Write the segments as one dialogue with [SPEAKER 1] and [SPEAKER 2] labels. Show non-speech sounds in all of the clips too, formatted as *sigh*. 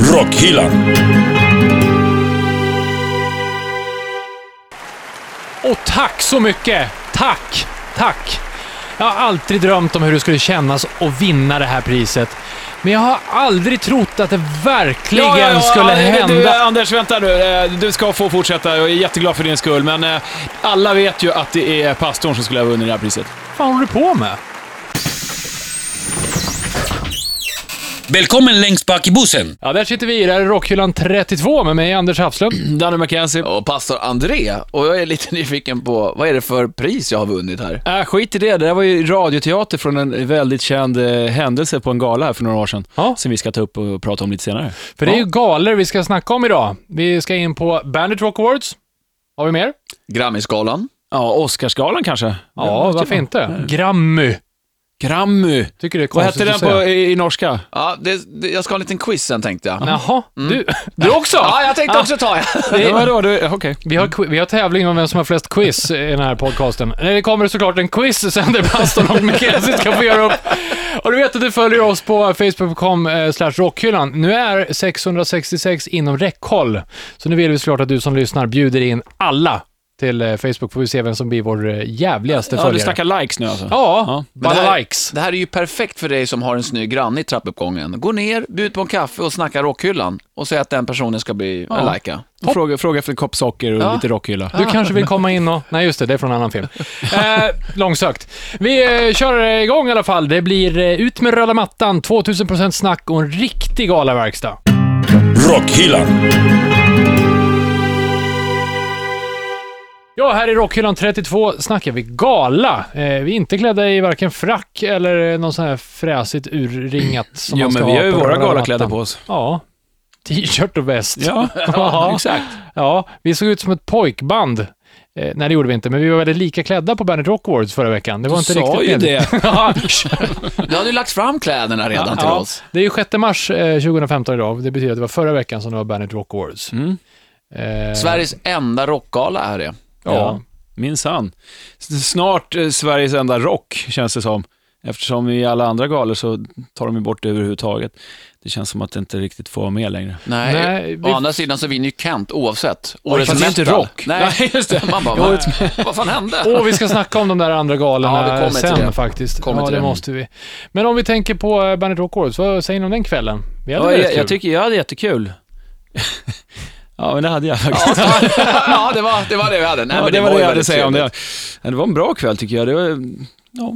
[SPEAKER 1] Rockhyllan.
[SPEAKER 2] Och tack så mycket! Tack! Tack! Jag har alltid drömt om hur det skulle kännas att vinna det här priset. Men jag har aldrig trott att det verkligen skulle
[SPEAKER 3] An-
[SPEAKER 2] hända.
[SPEAKER 3] Du, eh, Anders, vänta nu. Eh, Du ska få fortsätta. Jag är jätteglad för din skull, men eh, alla vet ju att det är pastorn som skulle ha vunnit det här priset.
[SPEAKER 2] Vad fan håller du på med?
[SPEAKER 1] Välkommen längst bak i bussen.
[SPEAKER 2] Ja, där sitter vi. Det här är Rockhyllan 32 med mig, Anders Hafslund.
[SPEAKER 3] Danny McKenzie.
[SPEAKER 4] Och pastor André. Och jag är lite *laughs* nyfiken på, vad är det för pris jag har vunnit här?
[SPEAKER 3] Äh, skit i det. Det där var ju radioteater från en väldigt känd eh, händelse på en gala här för några år sedan.
[SPEAKER 2] Ja.
[SPEAKER 3] Som vi ska ta upp och prata om lite senare.
[SPEAKER 2] För det är ju galor vi ska snacka om idag. Vi ska in på Bandit Rock Awards. Har vi mer?
[SPEAKER 4] Grammisgalan.
[SPEAKER 3] Ja, Oscarsgalan kanske?
[SPEAKER 2] Ja, varför inte? Grammy.
[SPEAKER 3] Grammy.
[SPEAKER 2] Tycker det är
[SPEAKER 3] Vad
[SPEAKER 2] konstigt
[SPEAKER 3] hette den
[SPEAKER 2] att säga.
[SPEAKER 3] på, i, i norska?
[SPEAKER 4] Ja, det, det, jag ska ha en liten quiz sen tänkte jag.
[SPEAKER 2] Jaha, du, du också?
[SPEAKER 4] Ja, jag tänkte också ta jag.
[SPEAKER 3] Ja, vadå? Du- Okej.
[SPEAKER 2] Vi har, qui- vi har tävling om vem som har flest quiz i den här podcasten. Nej, Det kommer såklart en quiz sen där Pastorn och Mikaelsen ska få göra upp. Och du vet att du följer oss på facebook.com eh, slash rockhyllan. Nu är 666 inom räckhåll, så nu vill vi såklart att du som lyssnar bjuder in alla till eh, Facebook, får vi se vem som blir vår eh, jävligaste
[SPEAKER 3] Ja, du
[SPEAKER 2] följare.
[SPEAKER 3] snackar likes nu alltså?
[SPEAKER 2] Ja,
[SPEAKER 4] Men det
[SPEAKER 2] bara
[SPEAKER 4] här-
[SPEAKER 2] likes.
[SPEAKER 4] Det här är ju perfekt för dig som har en snygg granne i trappuppgången. Gå ner, bjud på en kaffe och snacka rockhyllan och säg att den personen ska bli ja. lika.
[SPEAKER 3] Och Fråga, fråga efter en kopp socker och lite rockhylla.
[SPEAKER 2] Du kanske vill komma in och... Nej, just det, det är från en annan
[SPEAKER 3] *laughs*
[SPEAKER 2] film. Eh, långsökt. Vi eh, kör igång i alla fall. Det blir eh, ut med röda mattan, 2000% snack och en riktig galaverkstad.
[SPEAKER 1] Rockhyllan.
[SPEAKER 2] Ja, här i Rockhyllan 32 snackar vi gala. Eh, vi är inte klädda i varken frack eller eh, någon sån här fräsigt urringat som
[SPEAKER 3] Jo,
[SPEAKER 2] man ska
[SPEAKER 3] men vi
[SPEAKER 2] ha
[SPEAKER 3] har ju
[SPEAKER 2] på
[SPEAKER 3] våra
[SPEAKER 2] röda mattan.
[SPEAKER 3] galakläder på oss.
[SPEAKER 2] Ja. T-shirt och väst. *laughs*
[SPEAKER 3] Ja, exakt.
[SPEAKER 2] Ja, vi såg ut som ett pojkband. Eh, nej, det gjorde vi inte, men vi var väldigt lika klädda på Bandit Rock Awards förra veckan. Det var inte
[SPEAKER 3] sa
[SPEAKER 2] riktigt
[SPEAKER 3] ju
[SPEAKER 2] medvetet. *laughs* Ja.
[SPEAKER 4] Du hade ju lagt fram kläderna redan till
[SPEAKER 2] Ja,
[SPEAKER 4] oss.
[SPEAKER 2] Det är ju 6 mars eh, 2015 idag. Det betyder att det var förra veckan som det var Bandit Rock Awards.
[SPEAKER 3] Mm.
[SPEAKER 2] Eh,
[SPEAKER 4] Sveriges enda rockgala är det.
[SPEAKER 2] Ja.
[SPEAKER 3] Ja, minsann. S- Snart eh, Sveriges enda rock, känns det som. Eftersom i alla andra galor så tar de ju bort det överhuvudtaget. Det känns som att det inte riktigt får vara med längre.
[SPEAKER 4] Nej,
[SPEAKER 2] Nej,
[SPEAKER 4] å
[SPEAKER 2] vi-
[SPEAKER 4] andra sidan så vinner ju Kent oavsett.
[SPEAKER 3] fast det är inte
[SPEAKER 4] metal.
[SPEAKER 3] rock.
[SPEAKER 4] Nej,
[SPEAKER 3] Nej, just
[SPEAKER 4] *laughs*
[SPEAKER 3] det.
[SPEAKER 4] Man bara, vad, vad fan hände?
[SPEAKER 2] Och vi ska snacka om de där
[SPEAKER 4] *laughs*
[SPEAKER 2] andra
[SPEAKER 4] Ja, vi
[SPEAKER 2] galorna
[SPEAKER 4] kommer till
[SPEAKER 2] sen
[SPEAKER 4] det.
[SPEAKER 2] faktiskt.
[SPEAKER 4] Kommer
[SPEAKER 2] ja,
[SPEAKER 4] till
[SPEAKER 2] det,
[SPEAKER 4] det.
[SPEAKER 2] måste vi. Men om vi tänker på eh, Bandit Rock Awards, vad säger ni om den kvällen? Vi hade
[SPEAKER 3] Ja,
[SPEAKER 2] väldigt
[SPEAKER 3] jag,
[SPEAKER 2] kul.
[SPEAKER 3] jag tycker jag hade jättekul. *laughs* ja, men det hade jag faktiskt.
[SPEAKER 4] *laughs* ja, det var, det var det vi hade. Nej,
[SPEAKER 3] Ja,
[SPEAKER 4] men
[SPEAKER 3] det var
[SPEAKER 4] ju
[SPEAKER 3] det jag hade
[SPEAKER 4] väldigt
[SPEAKER 3] att säga om det.
[SPEAKER 4] trevligt.
[SPEAKER 3] Men det var en bra kväll tycker jag. Det var, ja.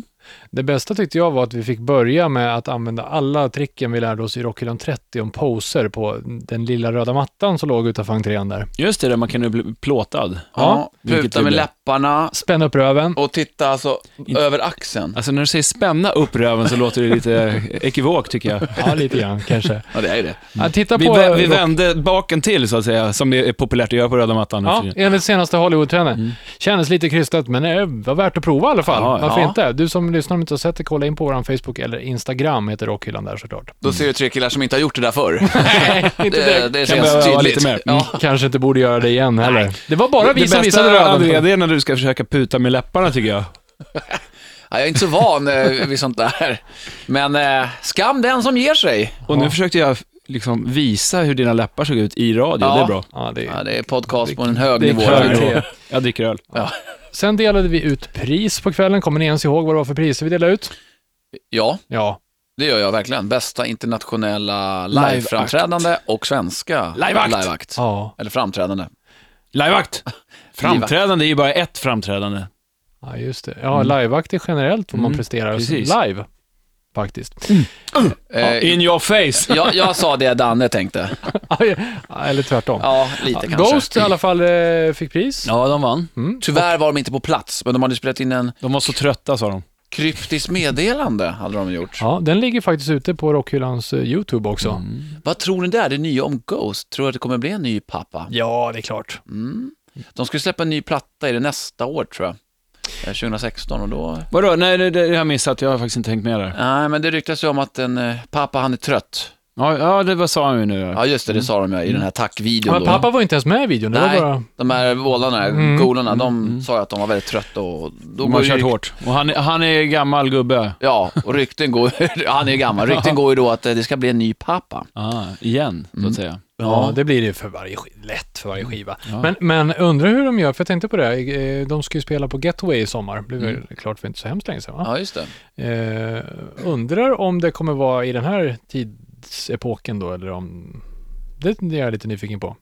[SPEAKER 2] Det bästa tyckte jag var att vi fick börja med att använda alla tricken vi lärde oss i Rockhyllan 30 om poser på den lilla röda mattan som låg utanför entrén där.
[SPEAKER 3] Just det, där man kan ju bli plåtad.
[SPEAKER 4] Ja,
[SPEAKER 3] vilket
[SPEAKER 4] Pluta
[SPEAKER 3] vi
[SPEAKER 4] med
[SPEAKER 3] blev.
[SPEAKER 4] läpparna
[SPEAKER 2] Spänn upp röven.
[SPEAKER 4] och titta alltså över axeln.
[SPEAKER 3] Alltså när du säger spänna upp röven så låter det
[SPEAKER 4] *laughs*
[SPEAKER 3] lite ekivokt tycker jag.
[SPEAKER 2] Ja, lite grann kanske.
[SPEAKER 4] Ja, det är det.
[SPEAKER 2] Ja, titta
[SPEAKER 3] Vi,
[SPEAKER 2] på...
[SPEAKER 3] vä- vi
[SPEAKER 2] Rock-
[SPEAKER 3] vände baken till så att säga, som det är populärt att göra på röda mattan. nu
[SPEAKER 2] Ja,
[SPEAKER 3] för tiden.
[SPEAKER 2] enligt senaste Hollywood-trenden. Kändes lite krystat, men det var värt att prova i alla fall.
[SPEAKER 3] Mm. Ja, ja.
[SPEAKER 2] Varför inte? Du som lyssnar om inte har sett det, kolla in på vår Facebook eller Instagram, heter Rockhyllan där
[SPEAKER 3] *laughs*
[SPEAKER 2] såklart.
[SPEAKER 4] Då ser du tre killar som inte har gjort det där förr.
[SPEAKER 2] Nej, inte
[SPEAKER 4] Det,
[SPEAKER 2] direkt. Mm,
[SPEAKER 4] det
[SPEAKER 3] Kan
[SPEAKER 4] känns
[SPEAKER 3] behöva vara
[SPEAKER 4] tydligt.
[SPEAKER 3] lite mer. Mm.
[SPEAKER 4] Ja.
[SPEAKER 2] Kanske inte borde göra det igen heller. Det var bara vi
[SPEAKER 3] det
[SPEAKER 2] som
[SPEAKER 3] bästa,
[SPEAKER 2] visade
[SPEAKER 3] André,
[SPEAKER 2] röven.
[SPEAKER 3] det är när du ska försöka puta med läpparna tycker jag.
[SPEAKER 4] Ja, jag är inte så van eh, vid sånt där. Men eh, skam den som ger sig.
[SPEAKER 3] Och nu försökte jag liksom visa hur dina läppar såg ut i radio,
[SPEAKER 4] Ja.
[SPEAKER 3] det är bra.
[SPEAKER 2] Ja, det
[SPEAKER 4] Ja,
[SPEAKER 2] är...
[SPEAKER 4] det är podcast på en hög
[SPEAKER 3] Det är
[SPEAKER 4] nivå. här.
[SPEAKER 3] hög nivå. Jag dricker öl.
[SPEAKER 2] Sen delade vi ut pris på kvällen. Kommer ni ens ihåg vad det var för priser vi delade ut?
[SPEAKER 4] Ja,
[SPEAKER 2] Ja.
[SPEAKER 4] det gör jag verkligen. Bästa internationella
[SPEAKER 3] Liveakt.
[SPEAKER 4] liveframträdande och svenska
[SPEAKER 3] Liveakt.
[SPEAKER 2] Ja,
[SPEAKER 4] Eller framträdande.
[SPEAKER 3] Liveakt! Framträdande är ju bara ett framträdande.
[SPEAKER 2] ja just det. Ja, liveakt är generellt vad man
[SPEAKER 3] Mm,
[SPEAKER 2] presterar som
[SPEAKER 3] precis. Mm.
[SPEAKER 2] live, faktiskt. *laughs*
[SPEAKER 4] Eh,
[SPEAKER 3] In your
[SPEAKER 4] *laughs*
[SPEAKER 3] face!
[SPEAKER 4] jag, jag sa det Danne tänkte.
[SPEAKER 2] eller tvärtom.
[SPEAKER 4] Ja, lite kanske.
[SPEAKER 2] Ghost i alla fall eh, fick pris.
[SPEAKER 3] Ja, de vann.
[SPEAKER 4] Tyvärr var de inte på plats, men de hade spelat in en
[SPEAKER 3] De var så trötta sa de.
[SPEAKER 4] kryptiskt meddelande, hade de gjort.
[SPEAKER 2] Ja, den ligger faktiskt ute på Rockhyllans eh, YouTube också.
[SPEAKER 4] Vad tror ni där, det nya om Ghost? Tror du att det kommer bli en ny pappa?
[SPEAKER 2] Ja, det är klart.
[SPEAKER 4] De ska släppa en ny platta, är det nästa år tror jag? Eh, 2016 och då...
[SPEAKER 3] Vadå? Nej, det, det har jag missat. Jag har faktiskt inte hängt med där.
[SPEAKER 4] Nej, men det ryktas ju om att en eh, pappa, han är trött.
[SPEAKER 3] Ja, ja det var, sa han ju nu. Ja.
[SPEAKER 4] Ja, just det, det sa de ju i den
[SPEAKER 3] Mm.
[SPEAKER 4] här tackvideon
[SPEAKER 2] Men
[SPEAKER 4] då.
[SPEAKER 2] pappa var inte ens med i videon. Det
[SPEAKER 4] Nej,
[SPEAKER 2] var bara... Mm.
[SPEAKER 4] de här vålarna, golorna, de sa ju att de var väldigt trötta och... Då
[SPEAKER 3] Mm. De
[SPEAKER 4] går
[SPEAKER 3] har
[SPEAKER 4] ju-
[SPEAKER 3] kört hårt. Och han, han är gammal gubbe.
[SPEAKER 4] Ja, och rykten går, *laughs* han är ju
[SPEAKER 2] *laughs*
[SPEAKER 4] gammal, rykten går ju då att eh, det ska bli en ny pappa.
[SPEAKER 3] Ah, igen, så att säga.
[SPEAKER 2] Ja, det blir det ju för varje skiva. Lätt för varje skiva. Men, men undrar hur de gör, för jag tänkte på det. eh, De ska ju spela på Getaway i sommar. Det blev väl klart för inte så hemskt länge sedan, va?
[SPEAKER 4] Ja, just det.
[SPEAKER 2] Eh, undrar om det kommer vara i den här tidsepoken då, eller om... Det, det är jag lite nyfiken på.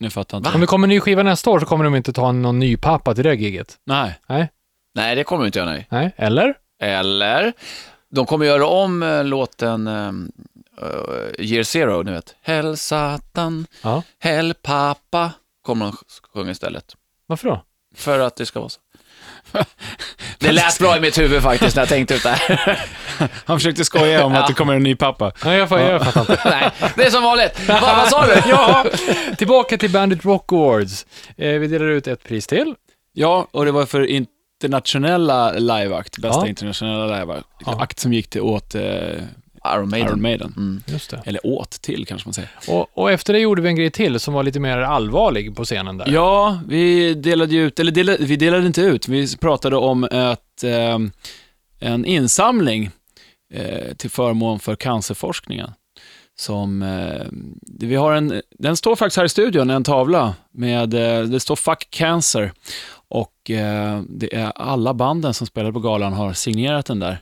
[SPEAKER 3] Nu fattar inte.
[SPEAKER 2] Om det kommer en ny skiva nästa år så kommer de inte ta någon ny pappa till det giget.
[SPEAKER 3] Nej.
[SPEAKER 2] Nej,
[SPEAKER 4] Nej, det kommer vi inte göra, nej.
[SPEAKER 2] nej, eller?
[SPEAKER 4] Eller, de kommer göra om eh, låten ehm, eh, Year Zero, ni vet. Hell Satan,
[SPEAKER 2] Ja,
[SPEAKER 4] Hell Pappa, kommer de sj- sjunga istället.
[SPEAKER 2] varför då?
[SPEAKER 4] För att det ska vara så. *laughs* Det lät bra i mitt huvud faktiskt när jag tänkte ut det här.
[SPEAKER 3] Han försökte skoja *laughs* om att det kommer en ny pappa.
[SPEAKER 2] Nej, jag, fa- jag fattar inte.
[SPEAKER 4] *laughs* Nej, det är som vanligt. Vad, vad sa *laughs* du?
[SPEAKER 2] ja, tillbaka till Bandit Rock Awards. Eh, vi delar ut ett pris till.
[SPEAKER 3] Ja, och det var för internationella liveakt, bästa
[SPEAKER 2] Ja.
[SPEAKER 3] internationella liveakt, akt som gick till åt eh,
[SPEAKER 4] Iron Maiden. Mm.
[SPEAKER 3] Iron Maiden.
[SPEAKER 2] Just det.
[SPEAKER 3] Eller åt till kanske man säger.
[SPEAKER 2] Och, och efter det gjorde vi en grej till som var lite mer allvarlig på scenen där.
[SPEAKER 3] Ja, vi delade ju ut, eller delade, vi delade inte ut, vi pratade om att, eh, en insamling eh, till förmån för cancerforskningen. Som, eh, vi har en, den står faktiskt här i studion, en tavla med, eh, det står Fuck Cancer. Och eh, det är alla banden som spelade på galan har signerat den där.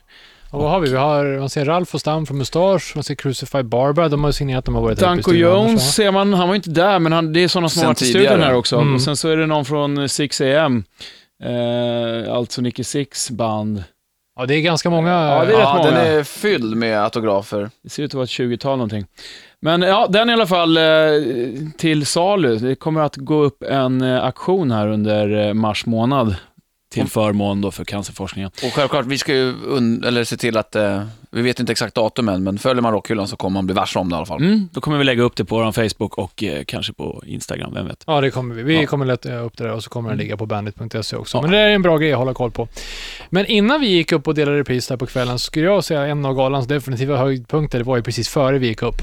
[SPEAKER 2] Och vad har vi? Vi har, man ser Ralf och Stam från Mustasch, man ser Crucify Barbara, de har ju signerat, de har varit här uppe i
[SPEAKER 3] Danko
[SPEAKER 2] studion annars,
[SPEAKER 3] Jones
[SPEAKER 2] va?
[SPEAKER 3] ser man, han var inte där, men han, det är sådana som
[SPEAKER 4] Sen
[SPEAKER 3] har varit i
[SPEAKER 4] tidigare.
[SPEAKER 3] studion här också.
[SPEAKER 2] Mm.
[SPEAKER 3] Och sen så är det någon från 6AM, eh, alltså Nicky Six band.
[SPEAKER 2] Ja, det är ganska många.
[SPEAKER 3] Ja, det är
[SPEAKER 4] Ja,
[SPEAKER 3] rätt
[SPEAKER 4] den
[SPEAKER 3] många.
[SPEAKER 4] är fylld med autografer.
[SPEAKER 3] Det ser ut att vara ett 20-tal någonting. Men ja, den i alla fall eh, till salu. Det kommer att gå upp en eh, aktion här under eh, mars månad till förmån då för cancerforskningen.
[SPEAKER 4] Och självklart, vi ska ju un- eller se till att, eh, vi vet inte exakt datum än, men följer man rockhyllan så kommer man bli varse om det i alla fall.
[SPEAKER 3] Mm, då kommer vi lägga upp det på vår Facebook och eh, kanske på Instagram, vem vet.
[SPEAKER 2] Ja, det kommer vi. Vi
[SPEAKER 3] Ja.
[SPEAKER 2] kommer lätta upp det där och så kommer den ligga på bandit.se också.
[SPEAKER 3] Ja.
[SPEAKER 2] Men det där är en bra grej att hålla koll på. Men innan vi gick upp och delade pris där på kvällen så skulle jag säga en av galans definitiva höjdpunkter, det var ju precis före vi gick upp.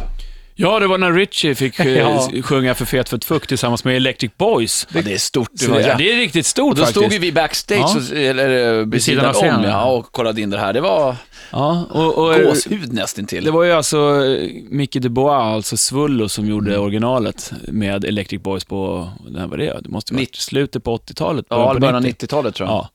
[SPEAKER 3] Ja, det var när Richie fick *laughs* eh,
[SPEAKER 2] Ja.
[SPEAKER 3] sjunga för fet för fuck tillsammans med Electric Boys.
[SPEAKER 4] Ja, det är stort.
[SPEAKER 3] Så det, det är riktigt
[SPEAKER 4] Och
[SPEAKER 3] stort
[SPEAKER 4] då
[SPEAKER 3] faktiskt.
[SPEAKER 4] stod ju vi backstage,
[SPEAKER 3] Ja.
[SPEAKER 4] och, eller eh, vid
[SPEAKER 3] sidan
[SPEAKER 4] sidan
[SPEAKER 3] av scenen,
[SPEAKER 4] om, ja,
[SPEAKER 3] ja.
[SPEAKER 4] och kollade in det här. Det var
[SPEAKER 3] Ja, och, och,
[SPEAKER 4] gåshud nästintill.
[SPEAKER 3] det var ju alltså eh, Mickey Dubois, alltså Svullo, som gjorde
[SPEAKER 4] Mm.
[SPEAKER 3] originalet med Electric Boys på, när var det? Det måste vara
[SPEAKER 4] 90.
[SPEAKER 3] slutet på 80-talet,
[SPEAKER 4] ja,
[SPEAKER 3] på
[SPEAKER 4] eller början av 90-talet tror jag.
[SPEAKER 3] Ja.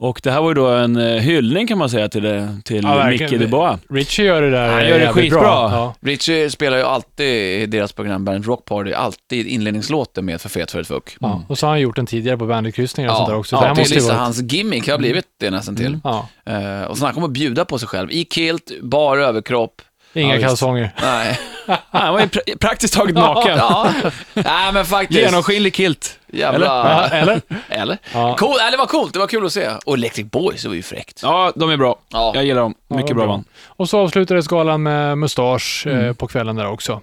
[SPEAKER 3] Och det här var ju då en eh, hyllning kan man säga till, det, till
[SPEAKER 2] Ja, verkligen.
[SPEAKER 3] Mickey Dubois.
[SPEAKER 2] Richie gör det där eh,
[SPEAKER 3] Han gör det
[SPEAKER 2] jävligt
[SPEAKER 3] skitbra.
[SPEAKER 2] bra. Ja.
[SPEAKER 4] Richie spelar ju alltid i deras program Band Rock Party, alltid inledningslåten med För fet för ett fuck.
[SPEAKER 2] Ja. Och så har han gjort den tidigare på banditkryssningar och sånt där också. så
[SPEAKER 4] Mm. ja,
[SPEAKER 2] det här
[SPEAKER 4] det är
[SPEAKER 2] måste ju
[SPEAKER 4] lite
[SPEAKER 2] vara... Mm.
[SPEAKER 4] hans gimmick, har blivit det nästan till.
[SPEAKER 2] Ja,
[SPEAKER 4] Eh, och snacka om att bjuda på sig själv, i kilt, bara överkropp.
[SPEAKER 2] inga
[SPEAKER 3] Ja, visst.
[SPEAKER 2] kalsonger. *laughs*
[SPEAKER 4] Nej,
[SPEAKER 3] Ah, han var ju pra- praktiskt taget naken.
[SPEAKER 4] ja. Nej men faktiskt.
[SPEAKER 3] Genomskinlig kilt.
[SPEAKER 4] Jävla...
[SPEAKER 2] Ja, eller?
[SPEAKER 4] Eller?
[SPEAKER 2] Ja.
[SPEAKER 4] Cool, nej, det var coolt, det var kul att se. Och Electric Boys, det var ju fräckt.
[SPEAKER 3] Ja, de är bra.
[SPEAKER 4] Ja.
[SPEAKER 3] Jag gillar dem.
[SPEAKER 2] Ja,
[SPEAKER 3] Mycket
[SPEAKER 2] det var
[SPEAKER 3] bra
[SPEAKER 2] bra.
[SPEAKER 3] band.
[SPEAKER 2] Och så avslutades galan med mustasch
[SPEAKER 4] Mm.
[SPEAKER 2] eh, på kvällen där också.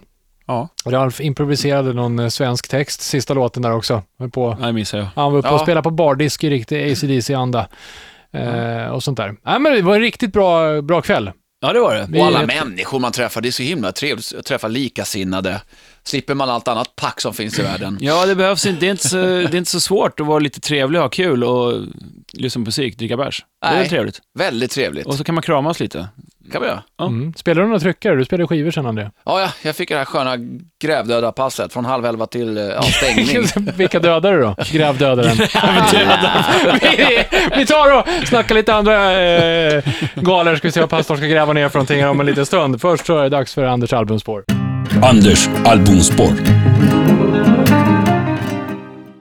[SPEAKER 3] Ja.
[SPEAKER 2] Ralf improviserade någon eh, svensk text, sista låten där också. Höll på.
[SPEAKER 3] Nej, missar jag.
[SPEAKER 2] Han var uppe
[SPEAKER 4] Ja.
[SPEAKER 2] och spelade på bardisk i riktig ACDC-anda. Eh, och sånt där. Nej, men det var en riktigt bra, bra kväll.
[SPEAKER 3] Ja, det var det.
[SPEAKER 2] Vi-
[SPEAKER 4] Och alla människor man träffar, det är så himla trevligt att träffa likasinnade. Slipper man allt annat pack som finns i världen.
[SPEAKER 3] Ja, det behövs inte. Det är inte, så, det är inte så svårt att vara lite trevlig, ha kul och lyssna på musik, dricka bärs. Det är
[SPEAKER 4] Nej.
[SPEAKER 3] trevligt.
[SPEAKER 4] Väldigt trevligt.
[SPEAKER 3] Och så kan man kramas lite.
[SPEAKER 4] kan vi göra.
[SPEAKER 3] Ja.
[SPEAKER 2] Mm. Spelar du några tryckare? Du spelade skivor sen, André.
[SPEAKER 4] Ja, ja, jag fick det här sköna grävdödarpasset från halv elva till eh,
[SPEAKER 2] *laughs*
[SPEAKER 4] ja, stängning.
[SPEAKER 2] Vilka dödade du då? Grävdödaren. *laughs* vi, vi tar och snackar lite andra eh, galor, ska vi se vad pastorn ska gräva ner för någonting här om en liten stund. Först så är det dags för Anders albumspår.
[SPEAKER 1] Anders albumspår.